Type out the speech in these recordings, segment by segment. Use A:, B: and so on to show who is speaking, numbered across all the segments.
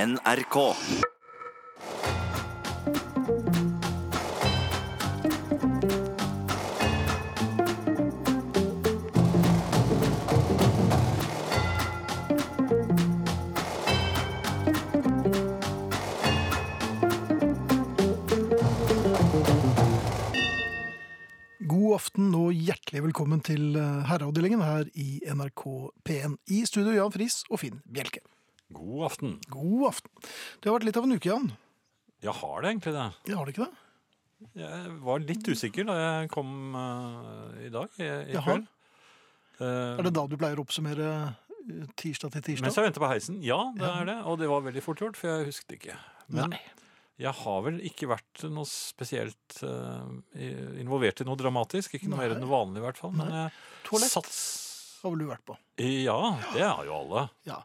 A: NRK.
B: God aften og hjertelig velkommen til eh, herreavdelingen her i NRK P1. I studio Jan Friis og Finn Bjelke.
C: God aften.
B: God aften. Det har vært litt av en uke, Jan.
C: Jeg har det egentlig, det.
B: Ja, har det ikke det?
C: Jeg var litt usikker da jeg kom eh, i dag. I, i
B: Jaha.
C: kveld. Eh,
B: Er det da du pleier å oppsummere eh, tirsdag til tirsdag?
C: mens jeg venter på heisen. Ja, det er det. Og det var veldig fort gjort, for jeg husket ikke. Men
B: Nei.
C: jeg har vel ikke vært noe spesielt eh, i- involvert i noe dramatisk. Ikke noe mer enn det vanlige, i hvert fall. Men jeg
B: Toalett
C: sats...
B: har vel du vært på?
C: Ja, det er jo alle.
B: Ja.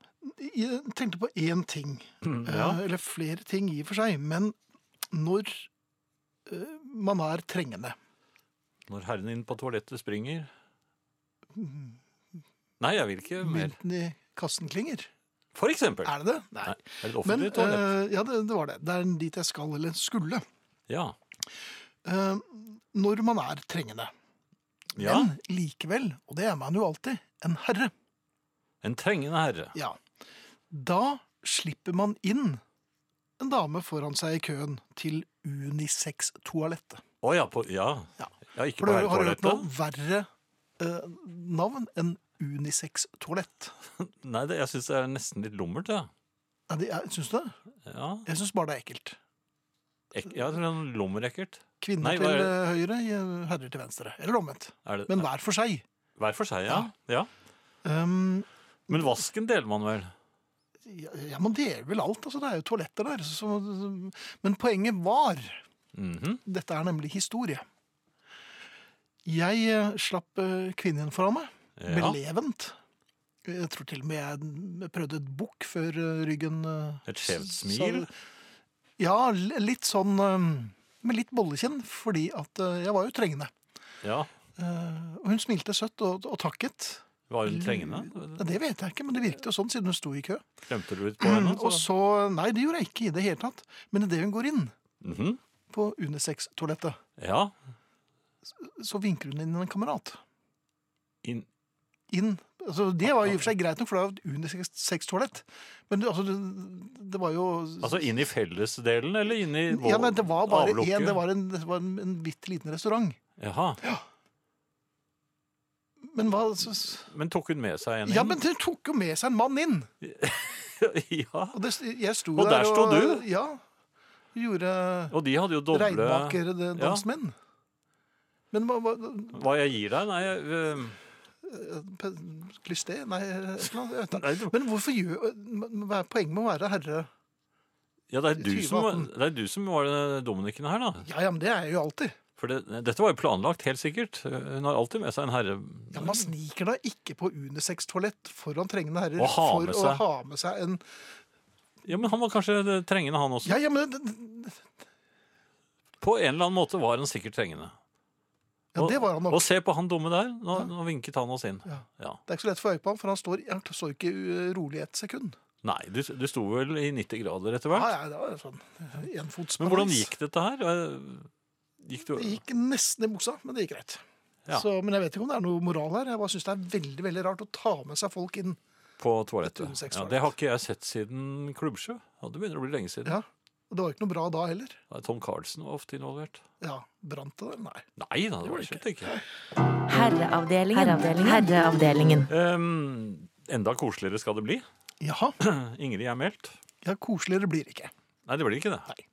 B: Jeg tenkte på én ting,
C: Ja.
B: eh, eller flere ting i og for seg, men når eh, man er trengende
C: Når herren inn på toalettet springer
B: Mm.
C: Nei, jeg vil ikke mer.
B: Mynten i kassen klinger.
C: For eksempel.
B: Er det det?
C: Nei, er det et
B: Men,
C: offentlig toalett?
B: eh, ja, det, det var det. Det er dit jeg skal, eller skulle.
C: Ja.
B: Eh, når man er trengende.
C: ja.
B: Men likevel, og det er man jo alltid, en herre.
C: En trengende herre.
B: Ja. Da slipper man inn en dame foran seg i køen til unisex-toalettet.
C: Å ja, på, ja.
B: Ja.
C: ja. ikke
B: For
C: på
B: du har hørt noe
C: herretoalettet.
B: verre eh, navn enn unisex-toalett.
C: Nei, det, jeg syns det er nesten litt lummert, ja.
B: Ja, det er- Syns du det?
C: Ja,
B: Jeg syns bare det er ekkelt.
C: ek, ja det er en lummerekkert.
B: Kvinner
C: Nei, hva
B: til
C: er det?
B: eh, høyre, je- herrer til venstre. Eller omvendt.
C: Er det,
B: Men hver for seg.
C: hver for seg, ja. ja.
B: Um,
C: Men vasken deler man vel?
B: ja, ja, man deler vel alt. Altså, det er jo toaletter der. Så, så, men poenget var
C: Mhm.
B: Dette er nemlig historie. Jeg eh, slapp eh, kvinnen foran meg,
C: ja.
B: belevent. Jeg tror til og med jeg prøvde et bukk før eh, ryggen eh,
C: Et skjevt smil?
B: sa- Ja, l- litt sånn eh, Med litt bollekinn, fordi at eh, jeg var jo trengende.
C: Ja.
B: Eh, Og hun smilte søtt og, og takket.
C: Var hun trengende?
B: Ja, Det vet jeg ikke, men det virket jo sånn siden hun sto i kø.
C: Klemte du litt på henne?
B: Og så Nei, det gjorde jeg ikke i det hele tatt. Men idet hun går inn
C: Mhm.
B: på unisex-toalettet,
C: Ja.
B: så vinker hun inn en kamerat.
C: Inn.
B: inn. Altså, det var i og for seg greit nok, for det var et unisex-toalett. Men det- altså, det, det var jo
C: Altså inn i fellesdelen, eller inn i
B: ja, nei, Det var bare
C: avlukket?
B: én. Det var en, det var en, en bitte liten restaurant.
C: Jaha.
B: Men hva så, s-
C: Men tok hun med seg en inn?
B: Ja, men hun tok jo med seg en mann inn!
C: ja.
B: Og, det, jeg sto
C: Og der sto du?
B: Ja. Gjorde
C: Og de hadde jo doble
B: regnmakere det-
C: Ja.
B: dansmenn. Men hva, hva
C: Hva jeg gir deg? Nei, jeg, eh,
B: Pe- Klisté? Nei, et eller annet, jeg vet ikke.
C: nei det-
B: Men hvorfor gjør men Hva er poenget med å være herre?
C: Ja, det er, du som,
B: 2018.
C: det er du som var eh, dominikken her, da.
B: Ja, ja, men det er jeg jo alltid.
C: For det, dette var jo planlagt, helt sikkert. Hun har alltid med seg en herre.
B: Ja, Man sniker da ikke på unisex-toalett foran trengende herrer
C: Og ha
B: for
C: med
B: å
C: seg.
B: ha med seg en
C: Ja, Men han var kanskje eh, trengende, han også.
B: Ja, ja, men det,
C: På en eller annen måte var han sikkert trengende.
B: ja, det var han nok.
C: Og se på han dumme der. Nå, nå vinket han oss inn.
B: Ja.
C: Ja.
B: Det er ikke så lett å få øye på ham, for han står, han står ikke uh, rolig et sekund.
C: Nei, du, du sto vel i 90 grader etter
B: Ja,
C: hvert.
B: ja, det var sånn enfotsbalans.
C: Men hvordan gikk dette her? Eh, Gikk du
B: det? gikk nesten i buksa, men det gikk greit.
C: Ja.
B: Så, men jeg vet ikke om det er noe moral her. Jeg bare syns det er veldig veldig rart å ta med seg folk inn.
C: på
B: Et
C: toalettet?
B: unisex
C: Ja, det har ikke jeg sett siden Klubbsjø. Ja, det begynner å bli lenge siden.
B: Ja. Og det var ikke noe bra da heller.
C: Tom Carlsen var ofte involvert.
B: Ja, Brant det der? Nei.
C: Nei da, det
B: var det
C: var det slett ikke.
D: Herreavdelingen. Herreavdelingen.
C: Ehm, enda koseligere skal det bli.
B: Jaha.
C: Ingrid er meldt.
B: Ja, koseligere blir det ikke.
C: Nei, det blir ikke det.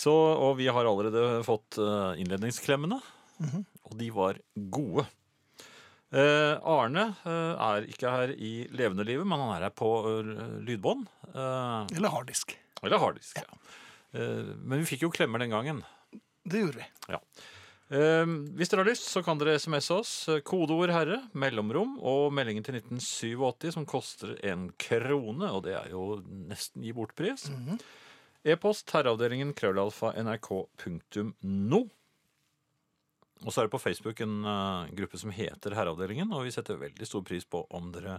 C: Så, og vi har allerede fått eh, innledningsklemmene, og de var gode. Eh, Arne eh, er ikke her i levende livet, men han er her på eh, lydbånd. eh,
B: Eller harddisk.
C: eller harddisk. Ja. Eh, men vi fikk jo klemmer den gangen.
B: Det gjorde vi.
C: Eh, hvis dere har lyst, så kan dere SMS oss. eh, Kodeord 'herre', mellomrom og meldingen til 1987 som koster en krone. Og det er jo nesten gi bort pris.
B: Mhm.
C: E-post herreavdelingen krøllalfa nrk.no. Og så er det på Facebook en eh, gruppe som heter Herreavdelingen, og vi setter veldig stor pris på om dere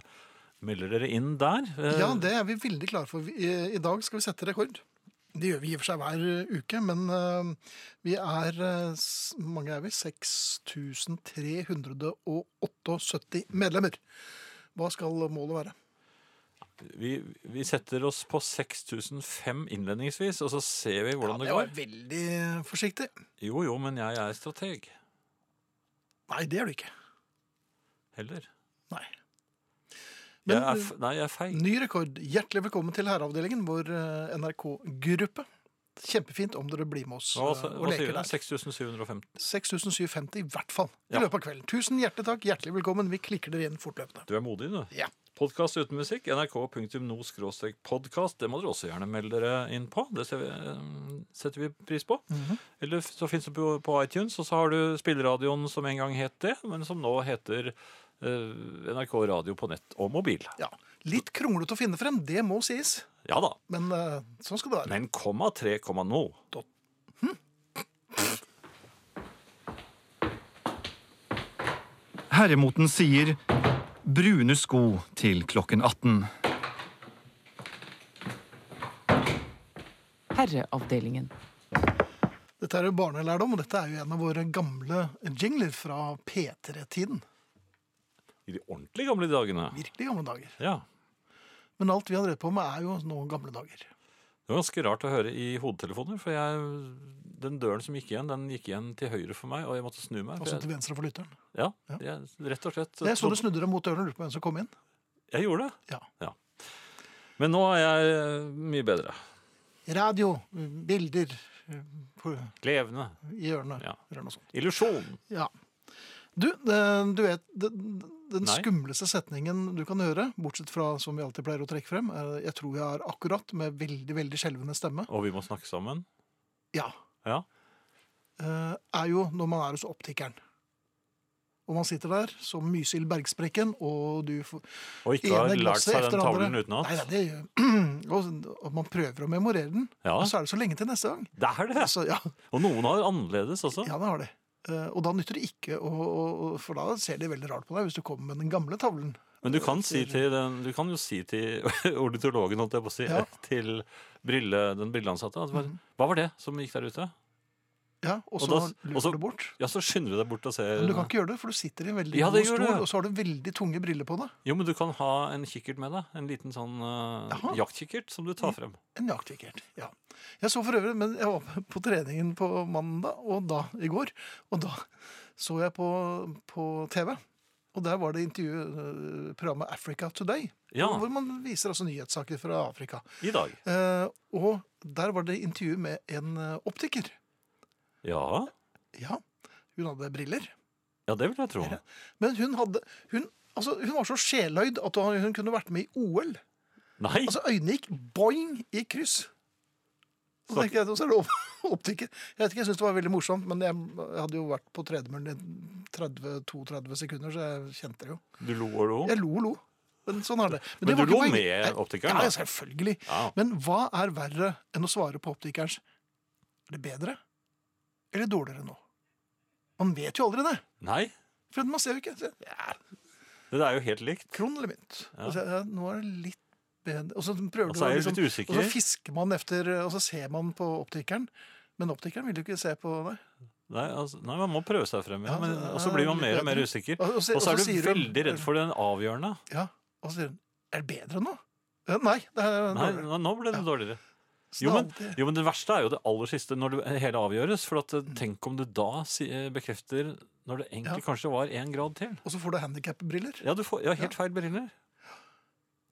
C: melder dere inn der. Eh,
B: Ja, det er vi veldig klare for. Vi- eh, I, I dag skal vi sette rekord. Det gjør vi i og for seg hver eh, uke, men eh, vi er eh, s- mange er vi? 6378 medlemmer. Hva skal målet være?
C: vi, vi setter oss på 6005 innledningsvis, og så ser vi hvordan det
B: Ja,
C: går.
B: var veldig forsiktig.
C: Jo, jo, men jeg er strateg.
B: Nei, det er du ikke.
C: Heller.
B: Nei.
C: Jeg
B: Men, eh,
C: er, f- nei, jeg er feig.
B: Ny rekord. Hjertelig velkommen til Herreavdelingen, vår eh, NRK-gruppe. Kjempefint om dere blir med oss
C: Hva,
B: eh, og
C: hva sier
B: leker
C: du?
B: der.
C: 6750.
B: 6750 i hvert fall i
C: Ja.
B: løpet av kvelden. Tusen hjertelig takk. Hjertelig velkommen. Vi klikker dere igjen fortløpende.
C: Du er modig, du.
B: Ja.
C: Podkast uten musikk, nrk.no-podkast. Det må dere også gjerne melde dere inn på. Det ser vi, eh, setter vi pris på. Eller så fins det på, på iTunes, og så har du spilleradioen som en gang het det, men som nå heter eh, NRK Radio på nett og mobil.
B: ja. Litt kronglete å finne frem, det må sies.
C: Ja da.
B: Men eh, sånn skal det være.
C: Men komma tre komma nå.
B: Dot-
A: Herremoten sier brune sko til klokken 18.
E: Herreavdelingen.
B: Dette er jo barnelærdom, og dette er jo en av våre gamle jingler fra P3-tiden.
C: I de ordentlig gamle dagene.
B: Virkelig gamle dager.
C: Ja.
B: Men alt vi har drevet på med, er jo nå gamle dager.
C: Det var ganske rart å høre i hodetelefoner, for jeg, den døren som gikk igjen, den gikk igjen til høyre for meg, og jeg måtte snu meg. for
B: Også
C: jeg,
B: til venstre for lytteren.
C: ja, jeg, rett og slett.
B: Jeg så du snudde deg mot døren og lurte på hvem som kom inn.
C: Jeg gjorde det.
B: Ja.
C: Men nå er jeg eh, mye bedre.
B: Radio, bilder eh, på,
C: Levende.
B: i hjørnet.
C: Ja.
B: Eller noe sånt.
C: Illusjon.
B: Ja. Du, eh, du vet den, den
C: Nei.
B: skumleste setningen du kan høre, bortsett fra som vi alltid pleier å trekke frem, er 'jeg tror jeg er akkurat', med veldig, veldig skjelvende stemme.
C: Og vi må snakke sammen.
B: Ja.
C: Ja.
B: eh, er jo når man er hos optikeren. Og man sitter der som Mysil Bergsprekken, og du får
C: Og ikke har lært seg den tavlen
B: Nei, nei,
C: utenat.
B: det gjør og, og man prøver å memorere den,
C: Ja.
B: og så er det så lenge til neste gang.
C: Det er det!
B: Så, ja,
C: Og noen har annerledes også.
B: Altså. Ja, det har de. Eh, Og da nytter det ikke, å- å- å- for da ser de veldig rart på deg hvis du kommer med den gamle tavlen.
C: Men du kan, si til den, du kan jo si til ornitologen, holdt jeg på å si,
B: Ja. Mhm.
C: til brille, den brilleansatte at bare, Hva var det som gikk der ute?
B: Ja, og
C: Og
B: så
C: da s-
B: lurer
C: og så-
B: du bort.
C: Ja, så skynder du deg bort og ser.
B: Men du kan ikke gjøre det, for du sitter i en veldig
C: Ja,
B: god
C: det gjør
B: stol,
C: det.
B: og så har du veldig tunge briller på deg.
C: Jo, men du kan ha en kikkert med deg. En liten sånn eh,
B: Jaha.
C: jaktkikkert som du tar frem.
B: En jaktkikkert, ja. Jeg så for øvrig, men jeg var på treningen på mandag, og da, i går, og da så jeg på, på TV. Og der var det intervju eh, programmet Africa Today,
C: Ja,
B: hvor man viser altså nyhetssaker fra Afrika.
C: i dag.
B: Eh, og der var det intervju med en eh, optiker.
C: Ja,
B: Ja, hun hadde briller.
C: ja det vil jeg tro.
B: Men hun, hadde, hun, altså, hun var så sjeløyd at hun hun kunne vært med i OL.
C: Nei!
B: Altså Øynene gikk boing i kryss. Og så
C: Så-
B: tenkte jeg, så er det opp- optiker. Jeg vet ikke, jeg syntes det var veldig morsomt, men jeg, jeg hadde jo vært på tredemøllen i 32-30 sekunder, så jeg kjente det jo.
C: Du lo og lo.
B: Jeg lo og lo. Men sånn er det.
C: Men
B: det
C: du
B: var
C: lo
B: ikke poenget.
C: med
B: Nei,
C: optikeren, da?
B: Ja, selvfølgelig.
C: Ja.
B: Men hva er verre enn å svare på optikerens Er det bedre eller dårligere nå? Man vet jo aldri det.
C: Nei,
B: For man ser jo ikke. Så, Ja,
C: det er jo helt likt.
B: kron eller mynt?
C: Ja.
B: Og så, ja, nå er det litt bedre Og så prøver
C: Og
B: du
C: så er
B: å
C: Altså,
B: liksom
C: jeg litt
B: Og så
C: usikker.
B: fisker man efter eh, Og så ser man på optikeren. Men optikeren vil jo ikke se på deg.
C: Nei, altså, nei, man må prøve seg frem. Ja.
B: Ja,
C: Men,
B: det er
C: og så blir man mer og mer
B: bedre.
C: usikker.
B: Og,
C: Og så er du
B: sier hun-
C: veldig redd for den avgjørende.
B: Ja, og så sier hun Er det bedre nå? Ja, Nei, det er
C: Nei,
B: dårligere.
C: nå ble det
B: Ja.
C: dårligere.
B: Så
C: Jo
B: det er
C: men,
B: alltid-
C: jo, men det verste er jo det aller siste, når det hele avgjøres. For at, eh,
B: Mm.
C: tenk om du da si, eh, bekrefter når det egentlig kanskje var én grad til.
B: Og så får du handikapbriller.
C: Ja, du får ja, helt feil briller.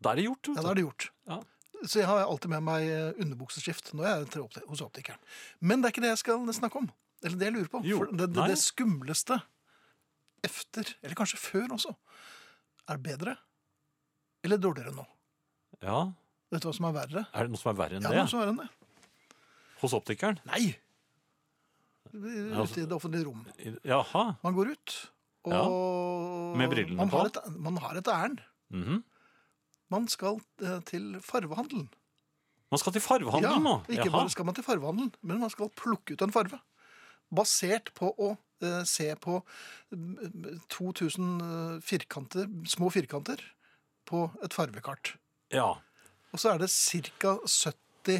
C: Da er det gjort.
B: Ja, da er
C: Vet du.
B: det gjort.
C: Ja.
B: Så jeg har alltid med meg eh, underbukseskift når jeg er til opti- hos optikeren. Men det er ikke det jeg skal snakke om. Eller det jeg lurer på.
C: Jo,
B: For det, det,
C: nei.
B: det skumleste efter, eller kanskje før også, er bedre eller dårligere nå.
C: Ja,
B: Vet du hva som er verre?
C: Er det noe som er verre enn
B: Ja,
C: det?
B: noe som er verre enn det.
C: Hos optikeren?
B: Nei!
C: altså-
B: Ute i det offentlige rom.
C: I- Jaha.
B: Man går ut, og
C: Med brillene
B: man har
C: på.
B: Et, man har et ærend.
C: mhm.
B: Man skal eh, til farvehandelen.
C: Man skal til farvehandelen nå.
B: Ja, ikke
C: Jaha.
B: bare skal man til farvehandelen, men man skal plukke ut en farve. Basert på å eh, se på mm, 2000 eh, firkanter, små firkanter på et farvekart.
C: Ja.
B: Og så er det ca.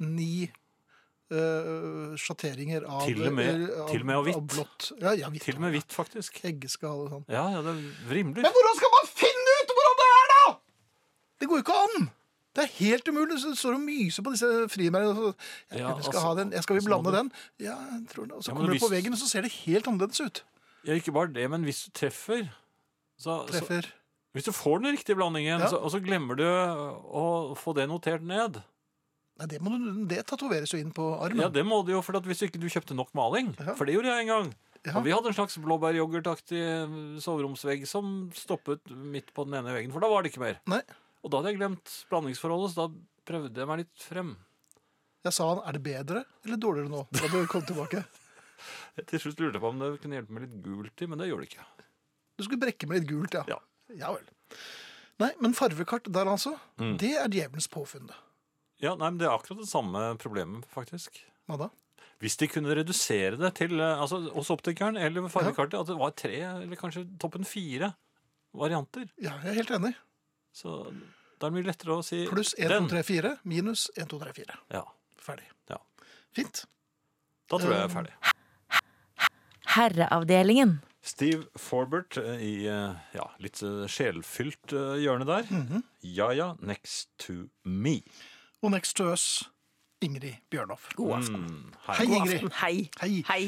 B: 79 eh, sjatteringer av
C: Til og med-
B: av-
C: til og med og hvitt.
B: av blått. Ja, ja, hvitt.
C: Til og med hvitt, faktisk.
B: Egge skal ha det sånn.
C: Ja, ja, det vrimler.
B: Men hvordan skal man finne ut hvordan det er, da?! Det går jo ikke an! Det er helt umulig. Så står du og myser på disse frimerkene. og så, Jeg,
C: Ja,
B: jeg skal
C: altså,
B: ha den, jeg skal vi
C: så må
B: blande
C: du-
B: den? Ja, jeg tror det. Og så
C: Ja, men
B: kommer det på
C: hvis-
B: veggen, og så ser det helt annerledes ut.
C: Ja, ikke bare det, men hvis du treffer så, så,
B: Treffer.
C: Hvis du får den riktige blandingen,
B: Ja.
C: så, og så glemmer du å få det notert ned
B: Nei, det, må du, det tatoveres jo inn på armen.
C: Ja, det må du jo, for at hvis ikke du kjøpte nok maling
B: Ja.
C: For det gjorde jeg en gang.
B: Ja.
C: Og vi hadde en slags blåbæryoghurtaktig eh, soveromsvegg som stoppet midt på den ene veggen, for da var det ikke mer.
B: Nei.
C: Og da hadde jeg glemt blandingsforholdet, så da prøvde jeg meg litt frem.
B: Jeg sa han, er det bedre eller dårligere nå? Da du kom tilbake.
C: Til slutt lurte jeg på om det kunne hjelpe med litt gult i, men det gjorde det ikke.
B: Du skulle brekke med litt gult, ja.
C: Ja.
B: Ja vel. Nei, men farvekart der altså,
C: Mm.
B: det er djevelens påfunn. det.
C: Ja, nei, men Det er akkurat det samme problemet, faktisk.
B: Hva da?
C: Hvis de kunne redusere det til eh, altså, hos optikeren eller ved fargekartet, at det var tre eller kanskje toppen fire varianter,
B: Ja, jeg er helt enig.
C: så da er det mye lettere å si
B: Pluss 1, 2, 3, 4. Minus 1, 2, 3, 4.
C: Ja,
B: Ferdig.
C: Ja.
B: Fint.
C: Da tror jeg
B: Eh,
C: jeg er ferdig.
D: Herreavdelingen.
C: Steve Forbert eh, i eh, ja, litt eh, sjelfylt eh, hjørne der. Ja ja, next to me.
B: Mhm. Og next to us, Ingrid Bjørnov.
D: God aften.
C: Mm, hei.
B: Hei,
D: God
B: Ingrid.
D: aften. Hei.
B: Hei.
D: Hei.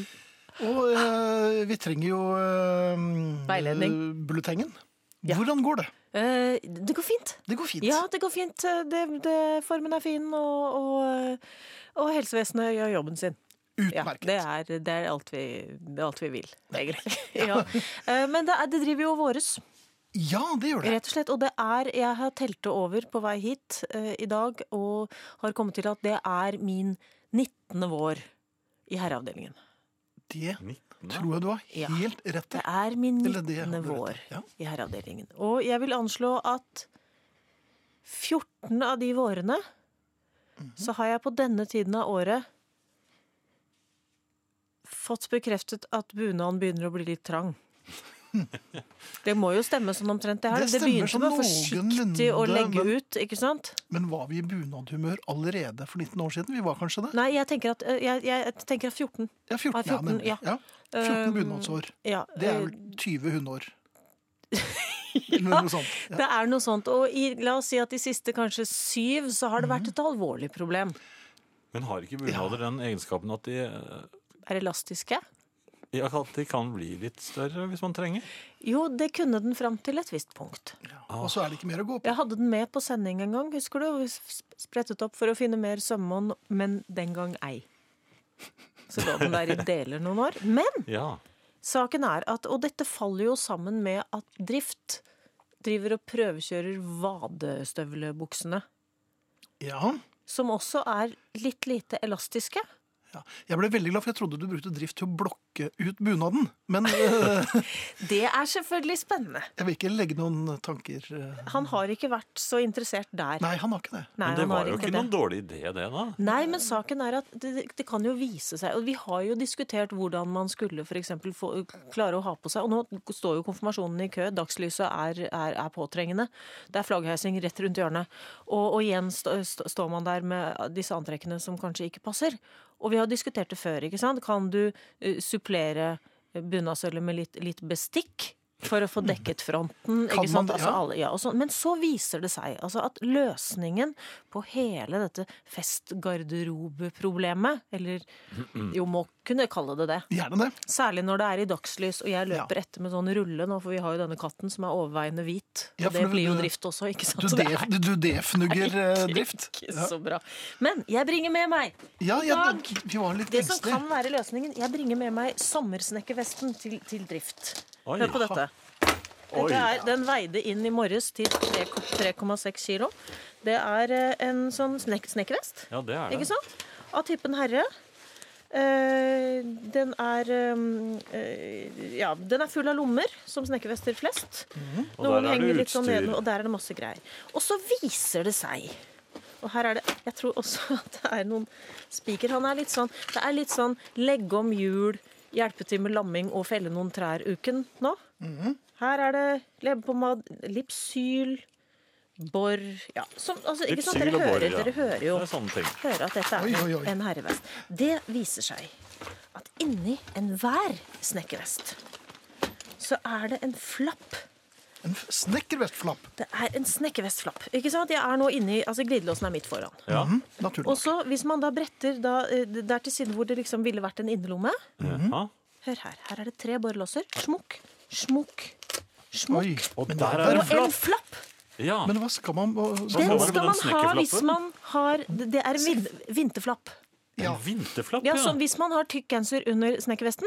B: Og eh, vi trenger jo eh,
D: Veiledning.
B: eh, Bulletengen.
D: Ja.
B: Hvordan går det?
D: Eh, det går fint.
B: Det går fint.
D: Ja, det går fint. Eh, Det, det, formen er fin, og, og, og helsevesenet gjør jobben sin. Ja,
B: Utmerket.
D: det er, det er alt vi, det er alt vi vil, egentlig. ja. Eh, Men det, er, det driver jo og våres,
B: Ja, det gjør det.
D: rett og slett. Og det er Jeg har telt det over på vei hit eh, i dag, og har kommet til at det er min 19. vår i herreavdelingen.
B: Det
C: 19.
B: tror jeg du har
D: Ja.
B: helt rett i.
D: Det er min
B: Eller det
D: 19.
B: hadde du
D: vår
B: rett i, ja.
D: i herreavdelingen. Og jeg vil anslå at 14 av de vårene
B: Mhm.
D: så har jeg på denne tiden av året fått bekreftet at bunaden begynner å bli litt trang. Det må jo stemme sånn omtrent, det her.
B: Det
D: Det,
B: stemmer
D: begynte
B: sånn
D: med forsiktig å
B: noenlunde,
D: legge
B: men-
D: ut, ikke sant?
B: Men var vi i bunadhumør allerede for 19 år siden? Vi var kanskje det?
D: Nei, jeg tenker at, eh, jeg, jeg tenker at 14.
B: Ja, 14,
D: Ja, 14,
B: ja, nemlig.
D: ja.
B: ja. 14
D: Um,
B: bunadsår.
D: Ja,
B: Det er
D: eh,
B: vel 20 hundeår. Eller noe sånt. Ja.
D: Det er noe sånt. Og i, la oss si at de siste kanskje syv, så
B: Mhm.
D: har det vært et alvorlig problem.
C: Men har ikke bunader den egenskapen at de, eh,
D: Er elastiske?
C: ja, at de kan bli litt større hvis man trenger?
D: Jo, det kunne den fram til et visst punkt.
B: Og så er det ikke mer å gå på.
D: Jeg hadde den med på sending en gang, husker du? Vi sp- sprettet opp for å finne mer sømmånd, men den gang ei. Så lå den der i deler noen år. Men
C: Ja.
D: saken er at Og dette faller jo sammen med at Drift driver og prøvekjører vadestøvlebuksene.
B: Ja.
D: Som også er litt lite elastiske.
B: Ja. Jeg ble veldig glad, for jeg trodde du brukte drift til å blokke ut bunaden. Men eh,
D: Det er selvfølgelig spennende.
B: jeg vil ikke legge noen tanker eh.
D: Han har ikke vært så interessert der.
B: Nei, han har ikke det.
D: Nei,
C: Men det
D: han har
C: var jo ikke
D: det.
C: noen dårlig idé, det, da.
D: Nei, men saken er at det, det kan jo vise seg Og vi har jo diskutert hvordan man skulle for eksempel få, klare å ha på seg Og nå står jo konfirmasjonen i kø. Dagslyset er, er, er påtrengende. Det er flaggheising rett rundt hjørnet. Og, og igjen stå- stå- står man der med disse antrekkene som kanskje ikke passer. Og vi har diskutert det før, ikke sant? Kan du eh, supplere bunadsølvet med litt, litt bestikk? For å få dekket fronten.
B: Kan
D: Ikke sant?
B: man det?
D: Altså,
B: Ja.
D: alle, ja, og sånn. Men så viser det seg altså, at løsningen på hele dette festgarderobeproblemet, eller jo, må kunne kalle det det,
B: Gjerne det.
D: særlig når det er i dagslys, og jeg løper
B: Ja.
D: etter med sånn rulle nå, for vi har jo denne katten som er overveiende hvit.
B: Ja,
D: og
B: for
D: det
B: du-
D: blir jo
B: du-
D: drift også, ikke sant?
B: Du,
D: Så
B: def,
D: Altså, det
B: du defnugger eh,
D: er
B: drift.
D: Ikke
B: Ja,
D: så bra. Men jeg bringer med meg
B: ja, ja
D: Dag.
B: vi var litt
D: det som
B: engstelige.
D: kan være løsningen. Jeg bringer med meg sommersnekkervesten til, til drift.
C: Oi.
D: Hør på dette.
C: Oi.
D: Dette er, den veide inn i morges til 3,6 kilo. Det er eh, en sånn snek snekkervest,
C: Ja, det er
D: ikke
C: det.
D: sant? Av typen herre. Eh, den er eh, eh, Ja, den er full av lommer, som snekkervester flest.
C: Mhm. Og
D: Noen
C: der er
D: henger
C: det
D: litt sånn ned, og
C: utstyr.
D: der er det masse greier. Og så viser det seg og her er det, Jeg tror også at det er noen spiker. Han er litt sånn Det er litt
C: Mhm.
D: sånn legge om hjul, hjelpe til med lamming og felle noen trær-uken nå. Her er det leppepomade, Lipsyl, Bor ja, som, altså, ikke sant?
C: Lipsyl
D: Dere
C: og Borr,
D: hører,
C: ja.
D: dere hører jo
C: Det er sånne ting.
D: hører at dette er
B: Oi, oi, oi.
D: en herrevest. Det viser seg at inni enhver snekkervest så er det en flapp.
B: En f- snekkervestflapp.
D: Det er en snekkervestflapp. Ikke sant? Jeg er nå inni, altså Glidelåsen er midt foran.
C: Ja.
B: Mhm, Naturlig.
D: Og så hvis man da bretter da, eh, der til siden hvor det liksom ville vært en innerlomme Mhm.
C: Ja.
D: Hør her. Her er det tre borrelåser. Smukk, smukk,
B: Oi.
D: smukk.
C: Og
B: Men
C: der
B: hva-
C: er det
D: Og en
C: flapp.
D: flapp!
C: Ja.
B: Men hva skal man hva-
D: Den
C: var det med
D: skal
C: den
D: man ha hvis
C: snekkerflappen?
D: man har Det er en vin- vinterflapp.
B: Ja.
C: En vinterflapp,
D: Ja, som Hvis man har tykk genser under snekkervesten